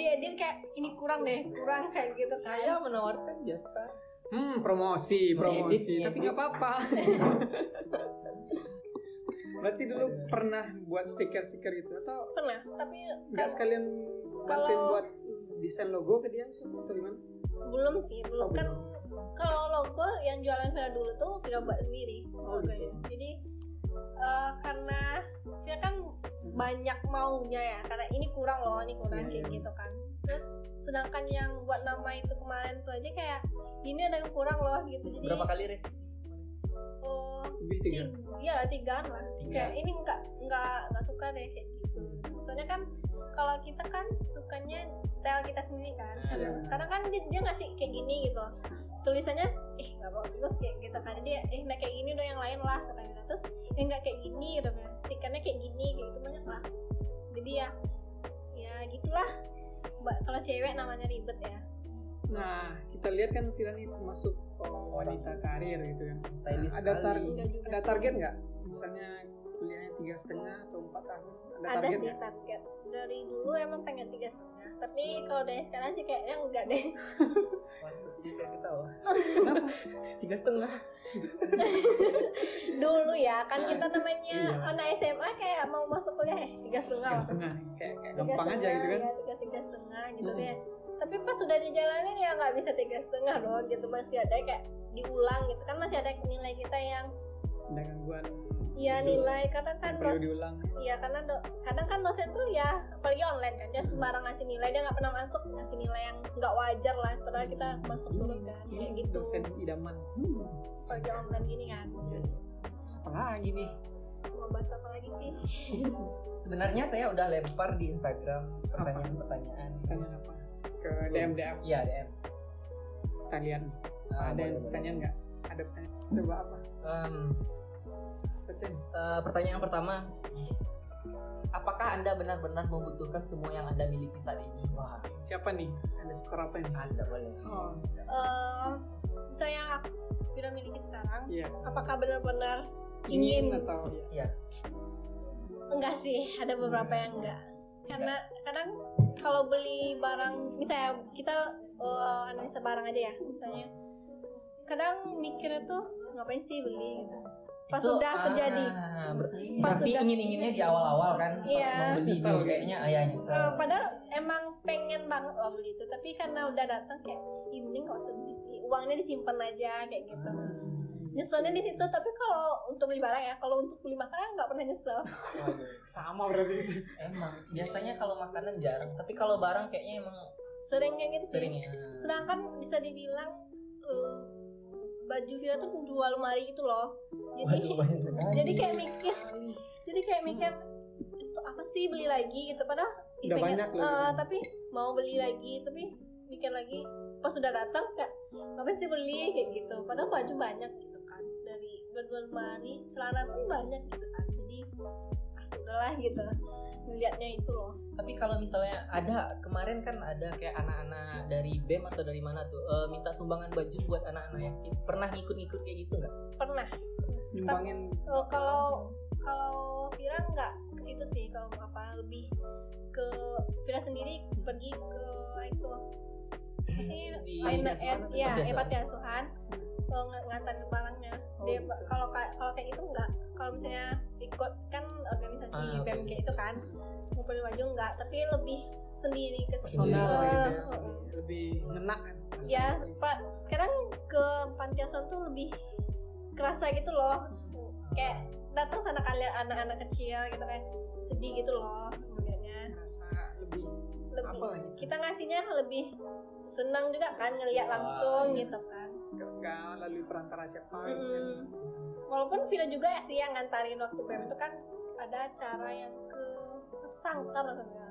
Speaker 3: diedit kayak ini kurang deh kurang kayak gitu kan
Speaker 2: Saya menawarkan jasa.
Speaker 1: hmm promosi promosi
Speaker 2: Ngedit,
Speaker 1: tapi
Speaker 2: ngedit.
Speaker 1: nggak apa-apa berarti dulu pernah buat stiker stiker gitu atau
Speaker 3: pernah tapi
Speaker 1: nggak
Speaker 3: kayak-
Speaker 1: sekalian bantuin
Speaker 3: kalau-
Speaker 1: buat desain logo ke dia atau gimana
Speaker 3: belum sih belum kan kalau logo yang jualan Vira dulu tuh Vira buat sendiri
Speaker 1: Oh,
Speaker 3: logonya. jadi eh, karena Vira kan banyak maunya ya karena ini kurang loh ini kurang
Speaker 1: Iya,
Speaker 3: kayak
Speaker 1: iya.
Speaker 3: gitu kan terus sedangkan yang buat nama itu kemarin tuh aja kayak ini ada yang kurang loh gitu jadi
Speaker 2: Berapa kali revisi?
Speaker 3: eh,
Speaker 1: lebih tiga
Speaker 3: tiga ya tigaan lah kayak
Speaker 1: Iya.
Speaker 3: ini nggak nggak nggak suka deh kayak gitu soalnya kan kalau kita kan sukanya style kita sendiri kan
Speaker 2: Nah,
Speaker 3: kadang,
Speaker 1: iya.
Speaker 3: kadang kan dia, dia ngasih kayak gini gitu tulisannya eh nggak bagus kayak gitu kan dia eh nah kayak gini udah yang lain lah kata dia terus eh nggak kayak gini udah stikernya kayak gini kayak gitu banyak lah jadi ya ya gitulah Mbak, kalau cewek namanya ribet ya
Speaker 1: Nah, kita lihat kan Vira nih termasuk oh, wanita karir gitu kan.
Speaker 2: Stylish
Speaker 1: Ada tar-
Speaker 2: sekali.
Speaker 3: Enggak Iya juga
Speaker 1: Ada
Speaker 3: sih.
Speaker 1: target nggak? Misalnya kuliahnya tiga setengah atau empat tahun, ada,
Speaker 3: ada
Speaker 1: target
Speaker 3: sih
Speaker 1: nggak?
Speaker 3: target dari dulu emang pengen tiga setengah tapi kalau dari sekarang sih kayaknya enggak deh
Speaker 2: Wah, sepertinya kayak ketawa. Tiga setengah.
Speaker 3: dulu ya kan kita namanya
Speaker 1: Iya.
Speaker 3: anak SMA kayak mau masuk kuliah eh tiga setengah
Speaker 1: Tiga
Speaker 3: lah.
Speaker 1: setengah, kayak, kayak
Speaker 3: Tiga
Speaker 1: gampang aja
Speaker 3: setengah,
Speaker 1: gitu kan?
Speaker 3: ya, tiga tiga setengah gitu
Speaker 1: Mm.
Speaker 3: deh tapi pas sudah dijalanin ya nggak bisa tiga setengah dong gitu masih ada kayak diulang gitu kan masih ada nilai kita yang
Speaker 1: Ada gangguan.
Speaker 3: ya
Speaker 1: gitu.
Speaker 3: nilai karena kan
Speaker 1: Perlu
Speaker 3: dos
Speaker 1: diulang.
Speaker 3: ya karena do, kadang kan dosen tuh ya apalagi online kan dia sembarang ngasih nilai dia nggak pernah masuk ngasih nilai yang nggak wajar lah padahal kita masuk terus kan kayak
Speaker 1: Ini
Speaker 3: gitu
Speaker 1: Hmm, Dosen idaman. Hmm,
Speaker 3: apalagi online gini kan
Speaker 1: Iya. siapa lagi nih?
Speaker 3: mau bahas apa lagi sih
Speaker 2: Sebenarnya saya udah lempar di Instagram pertanyaan-pertanyaan.
Speaker 1: Tanya apa? Ke DM DM.
Speaker 2: Iya DM.
Speaker 1: Kita lihat. nih. ada yang
Speaker 2: Ah, boleh, boleh.
Speaker 1: pertanyaan nggak? Ada pertanyaan. Coba apa?
Speaker 2: Em,
Speaker 1: Baca nih.
Speaker 2: Eh, pertanyaan pertama apakah anda benar-benar membutuhkan semua yang anda miliki saat ini wah
Speaker 1: Siapa nih? Ada skor apa ini?
Speaker 2: anda boleh
Speaker 1: Oh,
Speaker 3: Eh, misalnya yang aku sudah miliki sekarang
Speaker 1: iya.
Speaker 3: apakah benar-benar
Speaker 1: Ingin,
Speaker 3: Ingin.
Speaker 1: atau ya?
Speaker 3: enggak sih ada beberapa yang enggak karena kadang kalau beli barang misalnya kita eh, analisa barang aja ya misalnya kadang mikirnya tuh ngapain sih beli gitu pas
Speaker 2: Itu,
Speaker 3: sudah terjadi
Speaker 2: ah, berarti
Speaker 3: Pas
Speaker 2: berarti
Speaker 3: sudah.
Speaker 2: ingin-inginnya di awal-awal kan pas
Speaker 3: Iya.
Speaker 2: mau beli
Speaker 1: Nyesel.
Speaker 2: tuh kayaknya ayah nyesel
Speaker 3: Eh, padahal emang pengen banget loh beli itu
Speaker 2: Ah.
Speaker 3: tapi karena udah datang kayak "Ih, mending gak usah beli sih uangnya disimpan aja kayak gitu nyeselnya di situ tapi kalau untuk beli barang ya kalau untuk beli makanan nggak pernah nyesel
Speaker 1: sama berarti
Speaker 2: Emang biasanya kalau makanan jarang, tapi kalau barang kayaknya emang
Speaker 3: sering kayak gitu sih
Speaker 2: sering ya.
Speaker 3: sedangkan bisa dibilang eh, baju Vira tuh dua lemari gitu loh jadi
Speaker 2: Waduh banyak sekali.
Speaker 3: jadi kayak mikir jadi kayak mikir itu apa sih beli lagi gitu padahal ih,
Speaker 1: Udah banyak loh,
Speaker 3: eh,
Speaker 1: gitu.
Speaker 3: tapi mau beli lagi tapi mikir lagi pas sudah datang kayak ngapain sih beli kayak gitu padahal baju banyak gitu kan dari berdua lemari celana pun banyak gitu kan jadi ah sudahlah gitu melihatnya itu loh
Speaker 2: Tapi kalau misalnya ada kemarin kan ada kayak anak-anak dari BEM atau dari mana tuh eh, minta sumbangan baju buat anak-anak yatim. Pernah ngikut-ngikut kayak gitu nggak?
Speaker 3: pernah
Speaker 1: nyumbangin
Speaker 3: Eh, kalau kalau Vira nggak ke situ sih kalau apa lebih ke Vira sendiri pergi ke itu apa sih
Speaker 2: Di
Speaker 3: lain
Speaker 1: panti
Speaker 3: eh,
Speaker 1: asuhan
Speaker 3: ya
Speaker 2: atau
Speaker 3: eh,
Speaker 2: biasa?
Speaker 3: panti asuhan eh, ng- ngantarin barangnya
Speaker 1: Iya, Oh,
Speaker 3: dia
Speaker 1: gitu.
Speaker 3: ba- kalau ka- kalau kayak gitu enggak kalau misalnya ikut kan organisasi
Speaker 2: Ah,
Speaker 3: BEM
Speaker 2: oke.
Speaker 3: kayak itu kan ngumpulin baju enggak tapi lebih sendiri ke
Speaker 1: personal
Speaker 2: Iya.
Speaker 1: gitu
Speaker 3: Eh,
Speaker 1: ya lebih ngena kan
Speaker 3: ya pak sekarang ke panti asuhan tuh lebih kerasa gitu loh kayak datang sana kalian anak-anak kecil gitu kayak sedih gitu loh ngeliatnya
Speaker 1: rasa lebih
Speaker 3: lebih
Speaker 1: apa lagi
Speaker 3: kita ngasihnya lebih senang juga kan ngeliat langsung
Speaker 1: Ah, iya.
Speaker 3: gitu kan
Speaker 1: nggak lalu perantara siapa gitu kan.
Speaker 3: Mm-mm. walaupun Vina juga sih yang ngantarin waktu BEM itu kan ada acara yang ke ke sangkar lah sebenarnya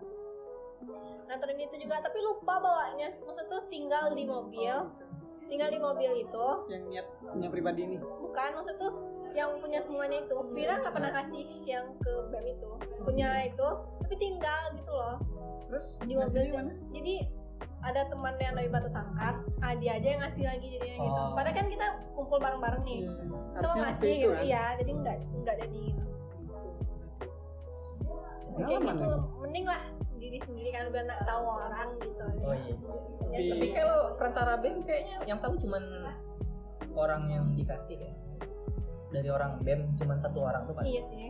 Speaker 3: nganterin itu juga tapi lupa bawanya maksud tuh tinggal di mobil tinggal di mobil itu
Speaker 1: yang niat punya pribadi ini
Speaker 3: bukan maksud tuh yang punya semuanya itu Vira nggak pernah kasih yang ke BEM itu punya itu tapi tinggal gitu loh
Speaker 1: terus
Speaker 3: di
Speaker 1: ngasihnya
Speaker 3: mobil kan? tuh. jadi ada teman yang dari Batu Sangkar ah dia aja yang ngasih lagi jadinya gitu
Speaker 2: Oh.
Speaker 3: padahal kan kita kumpul bareng-bareng nih
Speaker 1: Iya.
Speaker 3: kita mau
Speaker 1: Harusnya waktu
Speaker 3: ngasih
Speaker 1: itu
Speaker 3: gitu
Speaker 1: kan. Gitu.
Speaker 3: iya jadi nggak nggak jadi gitu kayak
Speaker 1: Pengalaman ya?
Speaker 3: gitu
Speaker 1: lagi.
Speaker 3: mending lah diri sendiri kan biar nggak tahu orang gitu
Speaker 2: Oh iya.
Speaker 3: Ya,
Speaker 1: Di-
Speaker 2: Tapi kalau perantara BEM kayaknya yang tahu cuman orang yang dikasih ya. Dari orang BEM cuman satu orang tuh pasti.
Speaker 3: iya sih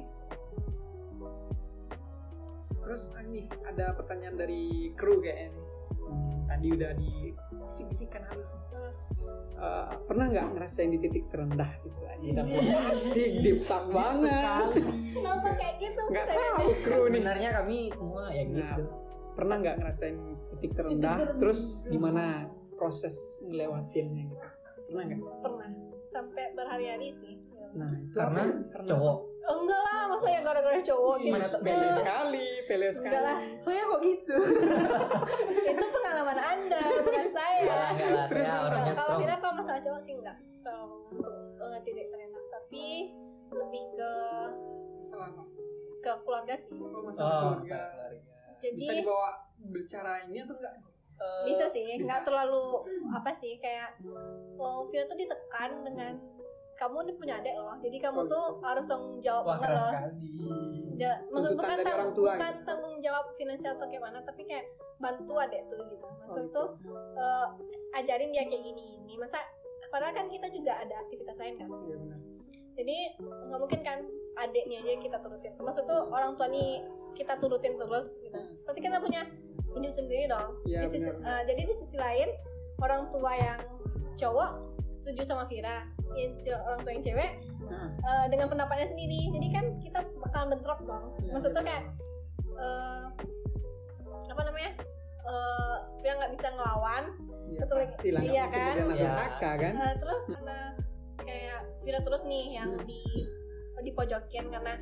Speaker 1: Terus ah, nih ada pertanyaan dari kru kayaknya nih. Tadi udah dibisik-bisikan halus. Eh, pernah nggak ngerasain di titik terendah gitu aja?
Speaker 2: Iya.
Speaker 1: Asik, deep talk banget.
Speaker 3: kenapa kayak gitu
Speaker 1: Nggak
Speaker 3: Saya-
Speaker 1: tahu kru nih.
Speaker 2: Sebenarnya kami semua ya gitu.
Speaker 1: Nah. Pernah nggak ngerasain titik terendah? Terus gimana proses ngelewatinnya gitu? Pernah nggak?
Speaker 3: pernah sampai berhari-hari sih
Speaker 1: Nah, itu
Speaker 2: Karena
Speaker 1: apa ya? Karena-
Speaker 2: Cowok.
Speaker 3: oh, enggak lah masa ya gara-gara cowok
Speaker 1: Ih,
Speaker 3: gitu
Speaker 2: Mana-
Speaker 1: Pele sekali, pele sekali.
Speaker 3: enggak lah
Speaker 2: Saya kok gitu.
Speaker 3: itu pengalaman anda bukan
Speaker 2: Enggak
Speaker 3: saya
Speaker 2: lah, enggak lah.
Speaker 1: Terus
Speaker 2: Saya
Speaker 1: apa?
Speaker 2: orangnya Iya,
Speaker 3: Nah, kalau
Speaker 2: strong. Oh,
Speaker 3: Vira kalau masalah cowok sih enggak kalau untuk eh, titik terendah tapi lebih ke
Speaker 1: Selama
Speaker 3: ke keluarga sih
Speaker 1: oh, masalah
Speaker 2: Oh,
Speaker 1: keluarga.
Speaker 2: masalah keluarga.
Speaker 3: jadi
Speaker 1: Bisa dibawa bercara ini atau enggak?
Speaker 2: Eh,
Speaker 3: bisa sih
Speaker 1: bisa.
Speaker 3: nggak terlalu apa sih kayak oh Vio tuh ditekan dengan kamu nih punya adik loh jadi kamu
Speaker 1: Oh,
Speaker 3: tuh harus tanggung jawab
Speaker 2: Wah
Speaker 3: banget
Speaker 2: keras
Speaker 3: loh
Speaker 2: sekali.
Speaker 3: Ja- maksud
Speaker 1: Tuntutan
Speaker 3: bukan,
Speaker 1: dari
Speaker 3: tang-
Speaker 1: orang tua
Speaker 3: bukan
Speaker 1: gitu.
Speaker 3: tanggung jawab finansial atau gimana tapi kayak bantu adik tuh gitu bantu
Speaker 1: gitu.
Speaker 3: tuh eh, ajarin dia kayak gini ini masa padahal kan kita juga ada aktivitas lain kan
Speaker 1: Iya benar.
Speaker 3: jadi nggak mungkin kan adiknya aja kita turutin maksud tuh orang tua nih kita turutin terus gitu
Speaker 1: Hmm.
Speaker 3: pasti kita punya hidup sendiri dong
Speaker 1: Iya,
Speaker 3: Di sisi-
Speaker 1: benar.
Speaker 3: eh, jadi di sisi lain orang tua yang cowok setuju sama Vira yang ce- orang tua yang cewek
Speaker 1: Nah,
Speaker 3: eh, dengan pendapatnya sendiri jadi kan kita bakal bentrok dong
Speaker 1: Iya,
Speaker 3: maksud tuh
Speaker 1: benar.
Speaker 3: kayak eh, apa namanya eh Vira nggak bisa ngelawan
Speaker 1: Iya
Speaker 3: Betul.
Speaker 1: pastilah nggak
Speaker 3: Iya
Speaker 1: mungkin
Speaker 3: kan?
Speaker 1: jadi anak
Speaker 2: Iya.
Speaker 1: durhaka kan?
Speaker 3: Eh, terus karena kayak Vira terus nih yang
Speaker 1: Hmm.
Speaker 3: di di pojokin karena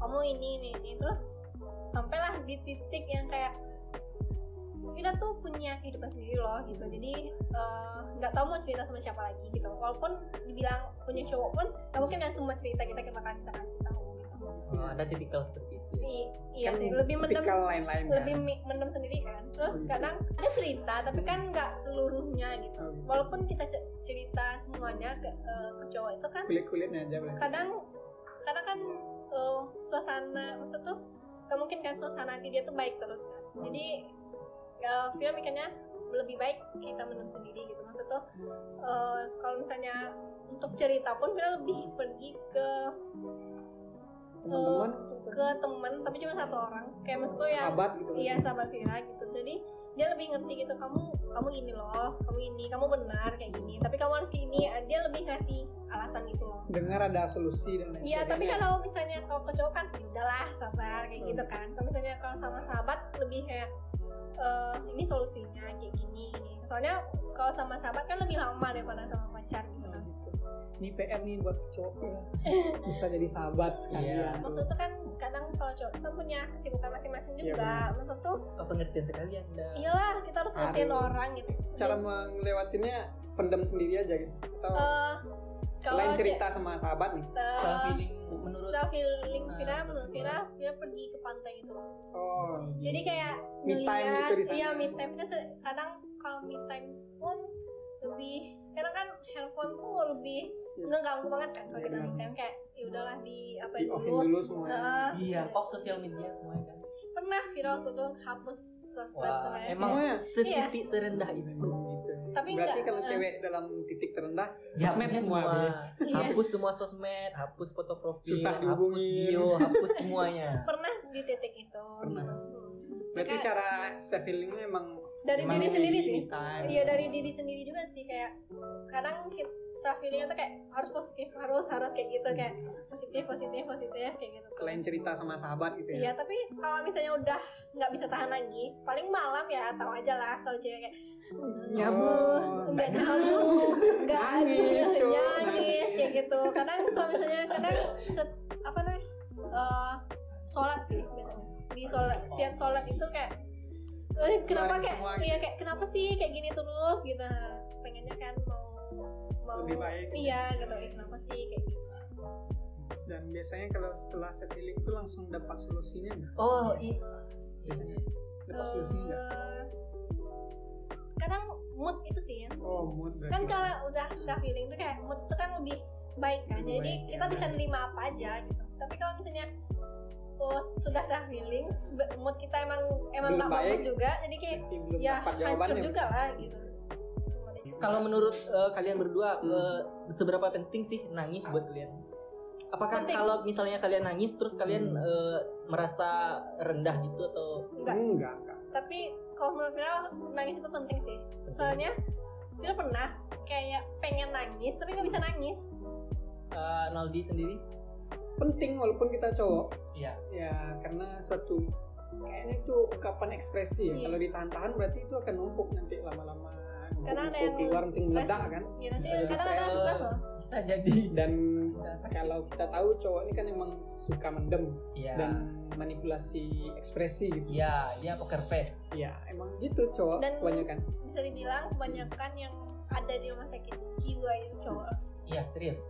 Speaker 3: kamu ini ini ini terus sampailah di titik yang kayak Vira tuh punya kehidupan sendiri loh gitu jadi eh, nggak tahu mau cerita sama siapa lagi gitu walaupun dibilang punya cowok pun nggak mungkin kan semua cerita kita kita bakal kita kasih tahu gitu
Speaker 2: Oh, ada tipikal seperti itu. ya.
Speaker 3: I- iya
Speaker 1: Kan
Speaker 3: sih lebih mendem
Speaker 1: tipikal lain-lain kan?
Speaker 3: lebih mi- mendem sendiri kan terus
Speaker 1: Hmm.
Speaker 3: kadang ada cerita tapi kan nggak seluruhnya gitu
Speaker 1: Oh, gitu.
Speaker 3: walaupun kita ce- cerita semuanya ke, eh, ke cowok itu kan
Speaker 1: kulit-kulitnya aja berarti.
Speaker 3: kadang kadang kan eh, suasana maksud tuh gak mungkin kan suasana hati dia tuh baik terus kan jadi ya, Vira mikirnya lebih baik kita mendem sendiri gitu maksud tuh eh, kalau misalnya untuk cerita pun Vira lebih pergi ke
Speaker 1: Teman-teman,
Speaker 3: ke teman tapi cuma satu orang kayak maksud tuh yang
Speaker 1: sahabat gitu.
Speaker 3: iya sahabat Vira gitu jadi dia lebih ngerti gitu kamu kamu gini loh kamu ini kamu benar kayak gini tapi kamu harus kayak gini dia lebih ngasih alasan gitu loh
Speaker 1: dengar ada solusi dan lain
Speaker 3: Iya, tapi
Speaker 1: sebagainya.
Speaker 3: kalau misalnya kalau ke cowok kan "Ya udahlah sabar kayak gitu
Speaker 1: Hmm.
Speaker 3: kan. Kalau misalnya kalau sama sahabat lebih kayak "Eh, ini solusinya kayak gini, gini. Soalnya kalau sama sahabat kan lebih lama daripada sama pacar gitu
Speaker 1: Nah,
Speaker 3: kan.
Speaker 1: gitu. Ini PR nih buat cowok ya. bisa jadi sahabat sekalian. gitu.
Speaker 2: Iya.
Speaker 3: Waktu itu kan kadang kalau cowok kita punya kesibukan masing-masing
Speaker 1: Hmm. Iya,
Speaker 3: juga. Maksud tuh
Speaker 2: Oh, pengertian sekali Anda.
Speaker 3: iyalah kita harus ngertiin
Speaker 1: Harus.
Speaker 3: orang gitu.
Speaker 1: Cara melewatinya pendam sendiri aja gitu. Atau
Speaker 3: Eh,
Speaker 1: selain
Speaker 3: kalau ce-
Speaker 1: cerita sama sahabat nih.
Speaker 3: eh,
Speaker 2: Self healing menurut
Speaker 3: self healing Vira
Speaker 2: Ah.
Speaker 3: menurut Vira Vira pergi ke pantai gitu loh.
Speaker 1: Oh,
Speaker 3: jadi
Speaker 2: Hmm.
Speaker 3: kayak
Speaker 1: Me time gitu di sana.
Speaker 3: iya me time kan se- kadang kalau me time pun lebih kadang kan handphone tuh lebih
Speaker 1: Iya.
Speaker 3: ngeganggu banget kan kalau kita
Speaker 1: Iya.
Speaker 3: me time kayak ya udahlah di apa
Speaker 1: di offin
Speaker 3: dulu
Speaker 1: dulu semuanya.
Speaker 3: Heeh.
Speaker 2: ya. Iya, pop sosial media semuanya kan.
Speaker 3: pernah viral waktu tuh hapus sosmed
Speaker 2: Wah,
Speaker 3: semuanya
Speaker 2: emang
Speaker 1: Semuanya.
Speaker 2: setitik serendah itu.
Speaker 1: Gitu.
Speaker 3: Tapi
Speaker 1: Berarti
Speaker 3: enggak,
Speaker 1: kalau
Speaker 3: eh.
Speaker 1: cewek dalam titik terendah
Speaker 2: Ya,
Speaker 1: Sosmed
Speaker 2: hapusnya
Speaker 1: semua, Bes.
Speaker 3: Iya.
Speaker 2: Hapus semua sosmed, hapus foto profil,
Speaker 1: Susah
Speaker 2: hapus
Speaker 1: dihubungin.
Speaker 2: bio, hapus semuanya.
Speaker 3: pernah di titik itu
Speaker 1: Pernah.
Speaker 3: Hmm.
Speaker 1: berarti
Speaker 3: Kayak-
Speaker 1: cara self healingnya emang
Speaker 3: dari
Speaker 2: Emang
Speaker 3: diri sendiri
Speaker 2: ini
Speaker 3: sih
Speaker 2: time.
Speaker 3: Iya dari diri sendiri juga sih kayak kadang ki- self healingnya tuh kayak harus positif harus harus kayak gitu kayak positif positif positif kayak gitu.
Speaker 1: selain cerita sama sahabat gitu ya.
Speaker 3: Iya tapi kalau misalnya udah nggak bisa tahan lagi paling malam ya tahu aja lah kalau cewek kayak
Speaker 1: Nyabu.
Speaker 3: nggak nyabu nggak
Speaker 1: Nangis, Cuk.
Speaker 3: nangis kayak gitu. Kadang kalau misalnya kadang set, apa namanya eh, sholat sih biasanya. di sholat siap sholat itu kayak eh,
Speaker 1: Keluarin
Speaker 3: kenapa kayak
Speaker 1: semua gitu.
Speaker 3: iya kayak kenapa sih kayak gini terus gitu pengennya kan mau mau
Speaker 1: Lebih baik.
Speaker 3: iya gitu "Ih, kenapa sih kayak gitu
Speaker 1: Dan biasanya kalau setelah self healing itu langsung dapat solusinya nggak?
Speaker 2: Oh, i-
Speaker 1: Biasanya. Dapat solusinya nggak?
Speaker 3: Eh, kadang mood itu sih yang
Speaker 1: Oh, mood berarti.
Speaker 3: kan kalau udah self healing tuh kayak mood tuh kan lebih baik kan
Speaker 1: Lebih
Speaker 3: jadi
Speaker 1: baik,
Speaker 3: kita
Speaker 1: ya.
Speaker 3: bisa nerima apa aja gitu tapi kalau misalnya oh sudah self healing be- mood kita emang emang
Speaker 1: Belum
Speaker 3: tak
Speaker 1: baik.
Speaker 3: bagus juga jadi kayak
Speaker 1: Berarti belum
Speaker 3: ya
Speaker 1: dapat
Speaker 3: hancur
Speaker 1: jawabannya.
Speaker 3: juga lah gitu
Speaker 2: kalau menurut eh, kalian berdua
Speaker 1: Hmm.
Speaker 2: eh, seberapa penting sih nangis buat kalian? Apakah
Speaker 3: Penting.
Speaker 2: kalau misalnya kalian nangis terus
Speaker 1: Hmm.
Speaker 2: kalian eh, merasa rendah gitu atau
Speaker 3: enggak sih.
Speaker 1: enggak, enggak.
Speaker 3: tapi kalau menurut Vira nangis itu penting sih soalnya Vira pernah kayak pengen nangis tapi nggak bisa nangis
Speaker 2: eh, Naldi sendiri?
Speaker 1: Penting walaupun kita cowok.
Speaker 2: Iya.
Speaker 1: Ya, karena suatu kayaknya itu ungkapan ekspresi ya.
Speaker 3: Iya.
Speaker 1: Kalau ditahan-tahan berarti itu akan numpuk nanti lama-lama. numpuk,
Speaker 3: Karena ada
Speaker 1: numpuk,
Speaker 3: yang
Speaker 1: keluar nanti
Speaker 3: stres.
Speaker 1: meledak kan.
Speaker 3: ya nanti
Speaker 1: Bisa jadi
Speaker 3: kadang ada
Speaker 2: stres.
Speaker 3: stres loh
Speaker 2: Bisa jadi.
Speaker 1: Dan kalau kita tahu cowok ini kan emang suka mendem
Speaker 2: Iya.
Speaker 1: dan manipulasi ekspresi gitu.
Speaker 2: Iya, dia poker face.
Speaker 1: Ya, emang gitu cowok
Speaker 3: Dan-
Speaker 1: kebanyakan.
Speaker 3: bisa dibilang kebanyakan yang ada di rumah sakit jiwa itu cowok
Speaker 2: Iya, serius.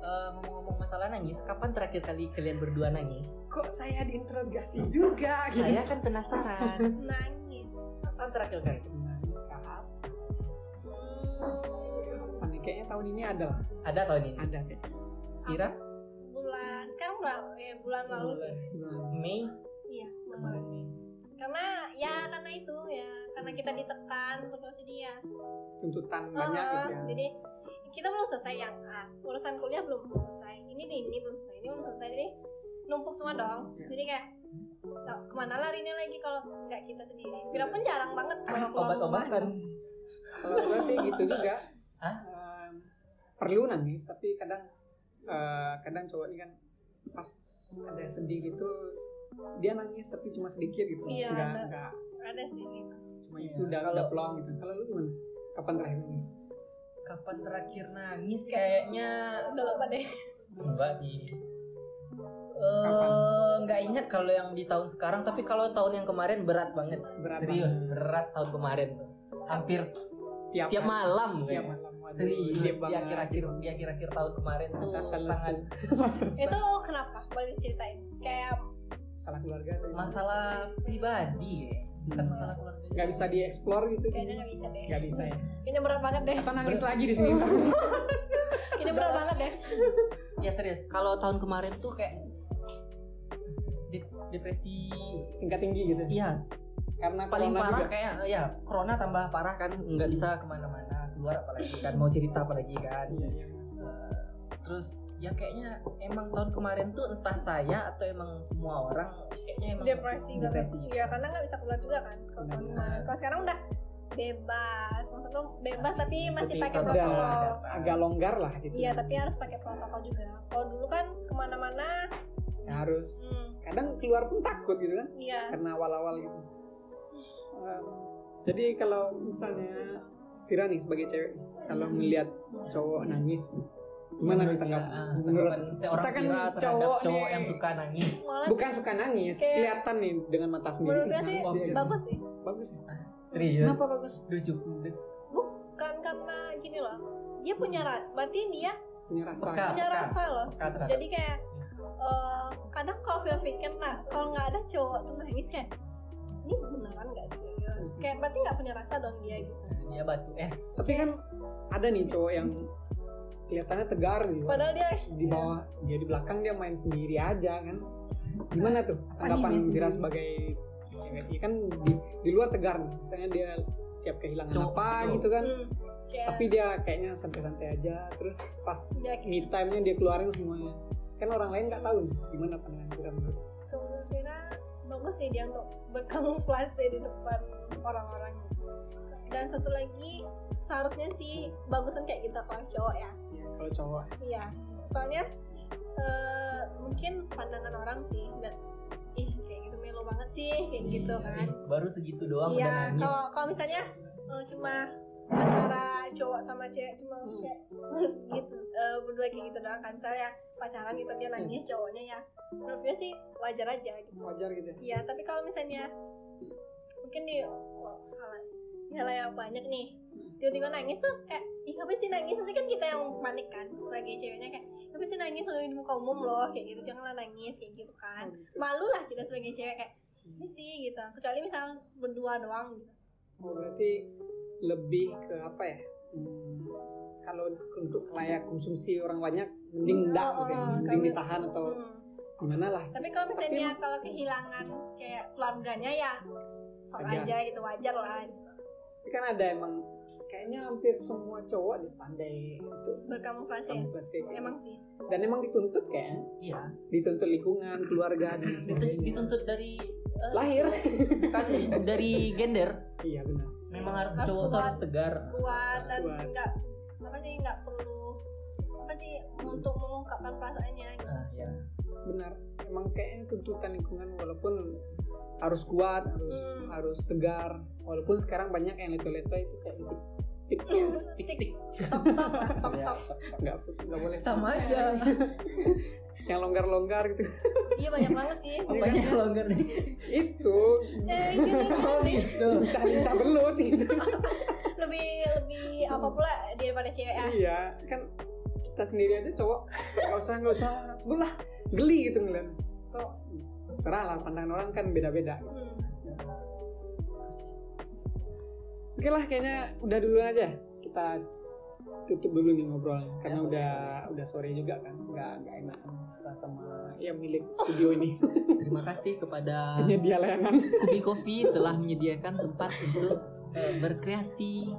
Speaker 2: Eh, ngomong-ngomong masalah nangis, kapan terakhir kali kalian berdua nangis?
Speaker 1: Kok saya diinterogasi juga gitu.
Speaker 2: Saya kan penasaran.
Speaker 3: nangis
Speaker 2: kapan terakhir kali?
Speaker 1: Nangis kapan?
Speaker 3: Hmm,
Speaker 1: Kapan nih? Kayaknya tahun ini ada lah.
Speaker 2: Ada tahun ini.
Speaker 1: Ada kayaknya.
Speaker 2: Kira?
Speaker 3: bulan kan bulan eh, bulan lalu sih
Speaker 1: Nah,
Speaker 2: Mei
Speaker 3: iya bulan lalu.
Speaker 2: kemarin Mei.
Speaker 3: karena ya karena itu ya karena kita ditekan terus jadi ya
Speaker 1: Tuntutan banyak
Speaker 3: Eh,
Speaker 1: gitu ya.
Speaker 3: jadi kita belum selesai yang A urusan kuliah belum selesai ini nih ini belum selesai ini belum selesai jadi numpuk semua dong
Speaker 1: Iya.
Speaker 3: jadi kayak "Nah, kemana larinya lagi kalau nggak kita sendiri Vira pun jarang banget kalau keluar
Speaker 2: Obat-obatan.
Speaker 3: rumah.
Speaker 1: kalau gue sih gitu juga
Speaker 2: Hah?
Speaker 1: Em, perlu nangis tapi kadang eh, kadang cowok ini kan pas ada sedih gitu dia nangis tapi cuma sedikit gitu
Speaker 3: Iya,
Speaker 1: nggak
Speaker 3: ada.
Speaker 1: nggak
Speaker 3: ada sih gitu.
Speaker 1: cuma
Speaker 2: Iya,
Speaker 1: itu udah
Speaker 2: kalau-
Speaker 1: udah plong gitu kalau lu gimana kapan terakhir nangis
Speaker 2: Kapan terakhir nangis? Kayaknya
Speaker 3: udah lupa deh
Speaker 2: enggak sih.
Speaker 1: Kapan?
Speaker 2: Eh, nggak ingat kalau yang di tahun sekarang, tapi kalau tahun yang kemarin berat banget.
Speaker 1: berapa
Speaker 2: Serius, berat tahun kemarin tuh. Hampir
Speaker 1: tiap,
Speaker 2: tiap
Speaker 1: hari-
Speaker 2: malam
Speaker 1: tiap
Speaker 2: kayaknya.
Speaker 1: malam waduh, sedih
Speaker 2: Serius, di
Speaker 1: banget.
Speaker 2: akhir-akhir di akhir-akhir tahun kemarin tuh
Speaker 3: Oh,
Speaker 1: Rasa lesu.
Speaker 2: sangat
Speaker 3: itu kenapa boleh ceritain kayak
Speaker 1: masalah keluarga tuh.
Speaker 2: masalah pribadi ya. Bukan
Speaker 1: Hmm.
Speaker 2: masalah keluarga.
Speaker 1: nggak bisa dieksplor gitu
Speaker 3: kayaknya Eh. nggak bisa deh
Speaker 1: nggak bisa ya
Speaker 3: kayaknya berat banget deh
Speaker 1: atau nangis lagi di sini ntar.
Speaker 3: kayaknya berat banget deh
Speaker 2: Ya serius, kalau tahun kemarin tuh kayak dep- depresi
Speaker 1: tingkat tinggi gitu
Speaker 2: Iya,
Speaker 1: karena
Speaker 2: paling
Speaker 1: corona
Speaker 2: parah
Speaker 1: juga.
Speaker 2: kayak eh, ya corona tambah parah kan nggak bisa kemana-mana keluar apalagi kan mau cerita apalagi kan
Speaker 1: Iya, iya.
Speaker 2: Eh, terus ya kayaknya emang tahun kemarin tuh entah saya atau emang semua orang kayaknya emang
Speaker 3: depresi banget Iya,
Speaker 2: depresi. gitu.
Speaker 3: ya karena nggak bisa keluar juga kan kalau tahun
Speaker 1: Benar.
Speaker 3: kemarin kalau sekarang udah bebas maksudnya bebas
Speaker 2: Masih
Speaker 3: tapi masih
Speaker 2: ikuti
Speaker 3: pakai
Speaker 2: protokol
Speaker 3: protokol
Speaker 2: kesehatan.
Speaker 1: agak longgar lah gitu
Speaker 3: iya tapi harus pakai protokol juga kalau dulu kan kemana-mana
Speaker 1: harus
Speaker 3: hmm,
Speaker 1: kadang keluar pun takut gitu kan
Speaker 3: iya
Speaker 1: karena awal-awal gitu Um, jadi kalau misalnya Vira nih sebagai cewek kalau melihat cowok nah. nangis gimana nih tanggap
Speaker 2: Ah,
Speaker 1: menurut
Speaker 2: tanggapan seorang
Speaker 1: kita kan
Speaker 2: Vira terhadap
Speaker 1: cowok
Speaker 2: cowok,
Speaker 1: nih.
Speaker 2: yang suka nangis
Speaker 3: malah
Speaker 1: bukan suka nangis
Speaker 3: Kayak-
Speaker 1: kelihatan nih dengan mata sendiri
Speaker 3: menurut gue sih
Speaker 1: nangis dia gitu.
Speaker 3: bagus sih
Speaker 1: bagus ya
Speaker 2: serius
Speaker 1: kenapa bagus
Speaker 2: lucu
Speaker 3: bukan Kan karena gini loh dia punya ra- berarti dia
Speaker 1: punya rasa
Speaker 2: Peka.
Speaker 3: punya
Speaker 2: Peka.
Speaker 3: rasa loh
Speaker 2: Peka terhadap-
Speaker 3: jadi kayak eh, kadang kalau Vio pikir nah kalau nggak ada cowok tuh nangis kayak ini beneran nggak sih Gitu. kayak berarti nggak punya rasa dong dia gitu
Speaker 2: dia batu es
Speaker 1: tapi kan ada nih cowok yang kelihatannya tegar gitu
Speaker 3: padahal dia
Speaker 1: di bawah dia di belakang dia main sendiri aja kan gimana tuh tanggapan
Speaker 2: main
Speaker 1: Vira
Speaker 2: sendiri?
Speaker 1: sebagai cewek Iya kan di, di luar tegar nih misalnya dia siap kehilangan
Speaker 2: Cowok,
Speaker 1: apa
Speaker 2: cowok.
Speaker 1: gitu kan
Speaker 3: hmm, kayak ya
Speaker 1: tapi dia kayaknya santai-santai aja terus pas
Speaker 3: dia
Speaker 1: me time nya dia keluarin semuanya kan orang lain nggak tahu nih gimana pandangan Vira menurut
Speaker 3: Menurut Vira bagus sih dia untuk berkamuflase di depan orang-orang gitu. Dan satu lagi seharusnya sih bagusan kayak kita kalau cowok ya.
Speaker 1: ya, kalau cowok
Speaker 3: Iya. Soalnya eh, mungkin pandangan orang sih nggak ih kayak gitu melo banget sih kayak gitu
Speaker 2: Iya,
Speaker 3: kan.
Speaker 2: ih, baru segitu doang udah
Speaker 3: Iya,
Speaker 2: nangis
Speaker 3: kalau kalau misalnya eh, cuma antara cowok sama cewek cuma
Speaker 1: Hmm.
Speaker 3: kayak gitu eh, berdua kayak gitu doang kan misalnya pacaran gitu dia nangis cowoknya ya menurut dia sih wajar aja gitu
Speaker 1: wajar gitu ya
Speaker 3: Iya, tapi kalau misalnya mungkin di wah, hal- hal yang banyak nih tiba-tiba nangis tuh kayak ih ngapain sih nangis nanti kan kita yang panik kan sebagai ceweknya kayak ngapain sih nangis Lu di muka umum loh kayak gitu janganlah nangis kayak gitu kan malu lah kita sebagai cewek kayak ini sih gitu kecuali misal berdua doang gitu
Speaker 1: oh, berarti lebih ke apa ya hmm, kalau untuk layak konsumsi orang banyak mending enggak gitu ya
Speaker 3: Oh, oh,
Speaker 1: mending
Speaker 3: kalau-
Speaker 1: ditahan atau
Speaker 3: Hmm.
Speaker 1: gimana lah
Speaker 3: tapi kalau misalnya kalau kehilangan kayak keluarganya ya sok
Speaker 1: Wajar.
Speaker 3: aja gitu wajar lah gitu.
Speaker 1: Tapi kan ada emang kayaknya hampir semua cowok deh pandai untuk
Speaker 3: berkamuflase ya?
Speaker 1: kamuflase kayak
Speaker 3: emang sih
Speaker 1: dan emang dituntut kayaknya
Speaker 2: iya
Speaker 1: dituntut lingkungan keluarga dan
Speaker 2: Ditu-
Speaker 1: sebagainya
Speaker 2: dituntut dari eh,
Speaker 1: Hmm, lahir
Speaker 2: bukan dari gender
Speaker 1: iya benar
Speaker 2: memang harus,
Speaker 3: Harus
Speaker 2: cowok tuh
Speaker 3: kuat.
Speaker 2: harus tegar
Speaker 3: kuat dan
Speaker 1: Kuat.
Speaker 3: nggak apa sih nggak perlu apa sih untuk mengungkapkan perasaannya gitu.
Speaker 2: ah
Speaker 1: iya.
Speaker 2: ya
Speaker 1: benar emang kayaknya tuntutan lingkungan walaupun harus kuat harus
Speaker 3: Hmm.
Speaker 1: harus tegar walaupun sekarang banyak yang leto-leto itu kayak gitu
Speaker 2: tik tik
Speaker 3: tok tok lah tok tok
Speaker 1: Iya, nggak nggak boleh
Speaker 2: sama aja
Speaker 1: yang longgar-longgar gitu
Speaker 3: iya banyak banget sih
Speaker 2: apanya longgar nih
Speaker 1: itu
Speaker 3: eh ini
Speaker 1: Oh,
Speaker 3: lebih
Speaker 1: iya. lincah-lincah belut gitu
Speaker 3: lebih lebih apa pula daripada cewek ya
Speaker 1: iya kan kita sendiri aja cowok nggak usah nggak usah sebelah geli gitu ngeliat toh serah lah pandangan orang kan beda-beda
Speaker 3: Hmm.
Speaker 1: oke lah kayaknya udah duluan aja kita tutup dulu nih ngobrolnya karena
Speaker 2: Ya.
Speaker 1: udah udah sore juga kan nggak nggak enak kita sama ya milik studio ini
Speaker 2: terima kasih kepada
Speaker 1: penyedia layanan
Speaker 2: Kubi Kopi telah menyediakan tempat untuk eh, berkreasi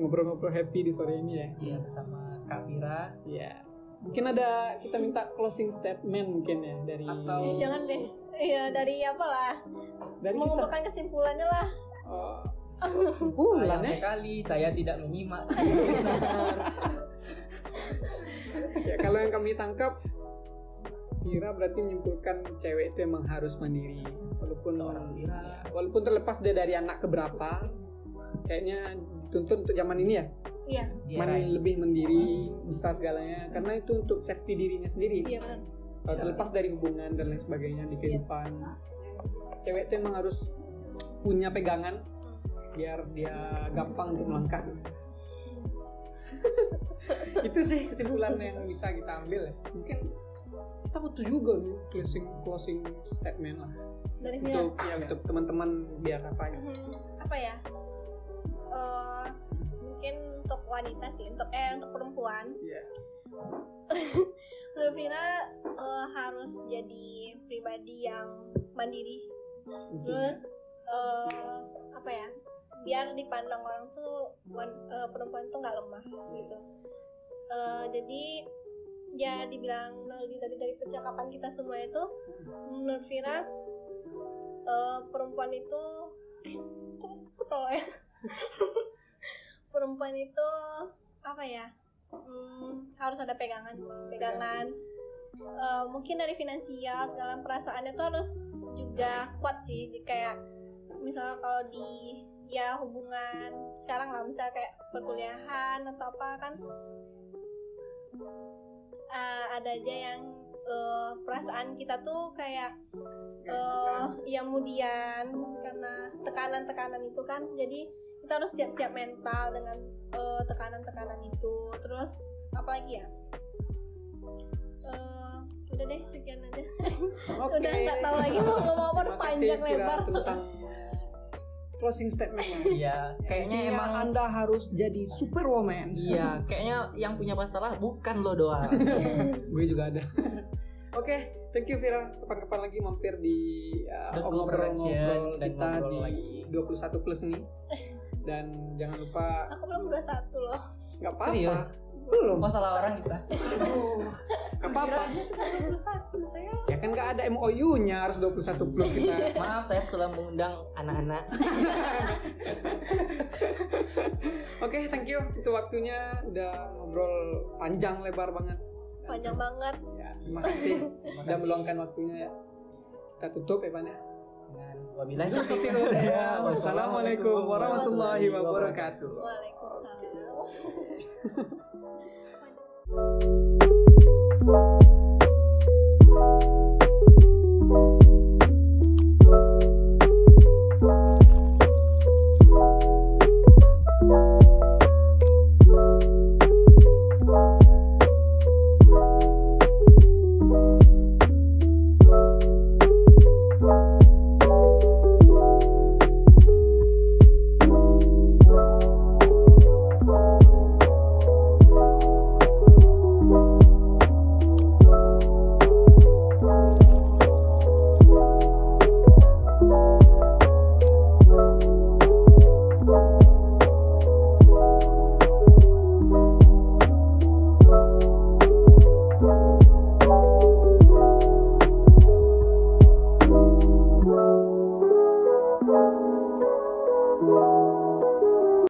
Speaker 1: ngobrol-ngobrol happy di sore ini ya
Speaker 2: ya bersama Kak Vira
Speaker 1: Iya mungkin ada kita minta closing statement mungkin ya dari
Speaker 2: Atau-
Speaker 3: Eh, jangan deh iya dari apa lah
Speaker 1: dari kita
Speaker 3: mengumpulkan kesimpulannya lah
Speaker 1: oh,
Speaker 2: Sayang
Speaker 1: kesimpulan ya
Speaker 2: sekali saya tidak menyimak
Speaker 1: ya kalau yang kami tangkap Vira berarti menyimpulkan cewek itu emang harus mandiri walaupun
Speaker 2: Seorang Vira.
Speaker 1: ya, walaupun terlepas dia dari anak keberapa kayaknya dituntut untuk zaman ini ya
Speaker 3: iya
Speaker 2: Dia
Speaker 1: mandi-
Speaker 2: raih.
Speaker 1: lebih mendiri bisa segalanya karena itu untuk safety dirinya sendiri
Speaker 3: iya benar
Speaker 1: Kalau Eh, terlepas dari hubungan dan lain sebagainya
Speaker 3: Iya.
Speaker 1: di kehidupan cewek itu emang harus punya pegangan biar dia gampang untuk melangkah itu sih kesimpulan yang bisa kita ambil ya mungkin kita butuh juga nih closing closing statement lah
Speaker 3: dari Vira
Speaker 1: untuk ya untuk teman-teman biar apa ya
Speaker 3: Hmm, apa ya Eh, mungkin untuk wanita sih untuk eh untuk perempuan
Speaker 1: Iya.
Speaker 3: menurut Vira eh, harus jadi pribadi yang mandiri terus eh, apa ya biar dipandang orang tuh wan- eh, perempuan tuh nggak lemah gitu Eh, jadi ya dibilang dari dari dari percakapan kita semua itu menurut Vira eh, perempuan itu kok ketawa ya? perempuan itu apa ya hmm, harus ada pegangan sih. pegangan eh, mungkin dari finansial segala perasaannya tuh harus juga kuat sih Jadi kayak misalnya kalau di ya hubungan sekarang lah misalnya kayak perkuliahan atau apa kan eh, ada aja yang eh, perasaan kita tuh kayak eh yang kemudian karena tekanan-tekanan itu kan jadi kita harus siap-siap mental dengan eh, tekanan-tekanan itu terus apa lagi ya Eh, udah deh sekian aja
Speaker 1: Oke.
Speaker 3: udah nggak tahu lagi mau ngomong apa udah
Speaker 1: Terima kasih,
Speaker 3: panjang
Speaker 1: Fira,
Speaker 3: lebar
Speaker 1: tentang closing statementnya.
Speaker 2: Iya, kayaknya
Speaker 1: Intinya
Speaker 2: emang
Speaker 1: Anda harus jadi superwoman.
Speaker 2: iya, kayaknya yang punya masalah bukan lo doang.
Speaker 1: Gue juga ada. Oke, thank you Vira. Kapan-kapan lagi mampir di
Speaker 2: The
Speaker 1: uh,
Speaker 2: Cool Production
Speaker 1: ngobrol-ngobrol
Speaker 2: dan
Speaker 1: kita
Speaker 2: ngobrol
Speaker 1: di 21 plus nih. Dan jangan lupa
Speaker 3: aku belum dua satu loh
Speaker 1: nggak apa-apa.
Speaker 2: Serius?
Speaker 1: Belum.
Speaker 2: Masalah orang kita.
Speaker 1: Aduh, nggak apa-apa.
Speaker 3: satu saya
Speaker 1: Ya kan nggak ada MOU-nya harus 21 plus kita.
Speaker 2: Maaf, saya telah mengundang anak-anak.
Speaker 1: Oke, thank you. Itu waktunya udah ngobrol panjang lebar banget.
Speaker 3: panjang banget
Speaker 1: Ya, terima kasih udah
Speaker 2: kasih.
Speaker 1: meluangkan waktunya ya. Kita tutup ya, Pak. ya.
Speaker 2: Dengan wabillahi taufiq wal
Speaker 1: Ya,
Speaker 2: hidayah.
Speaker 1: Wassalamualaikum warahmatullahi wabarakatuh.
Speaker 3: waalaikumsalam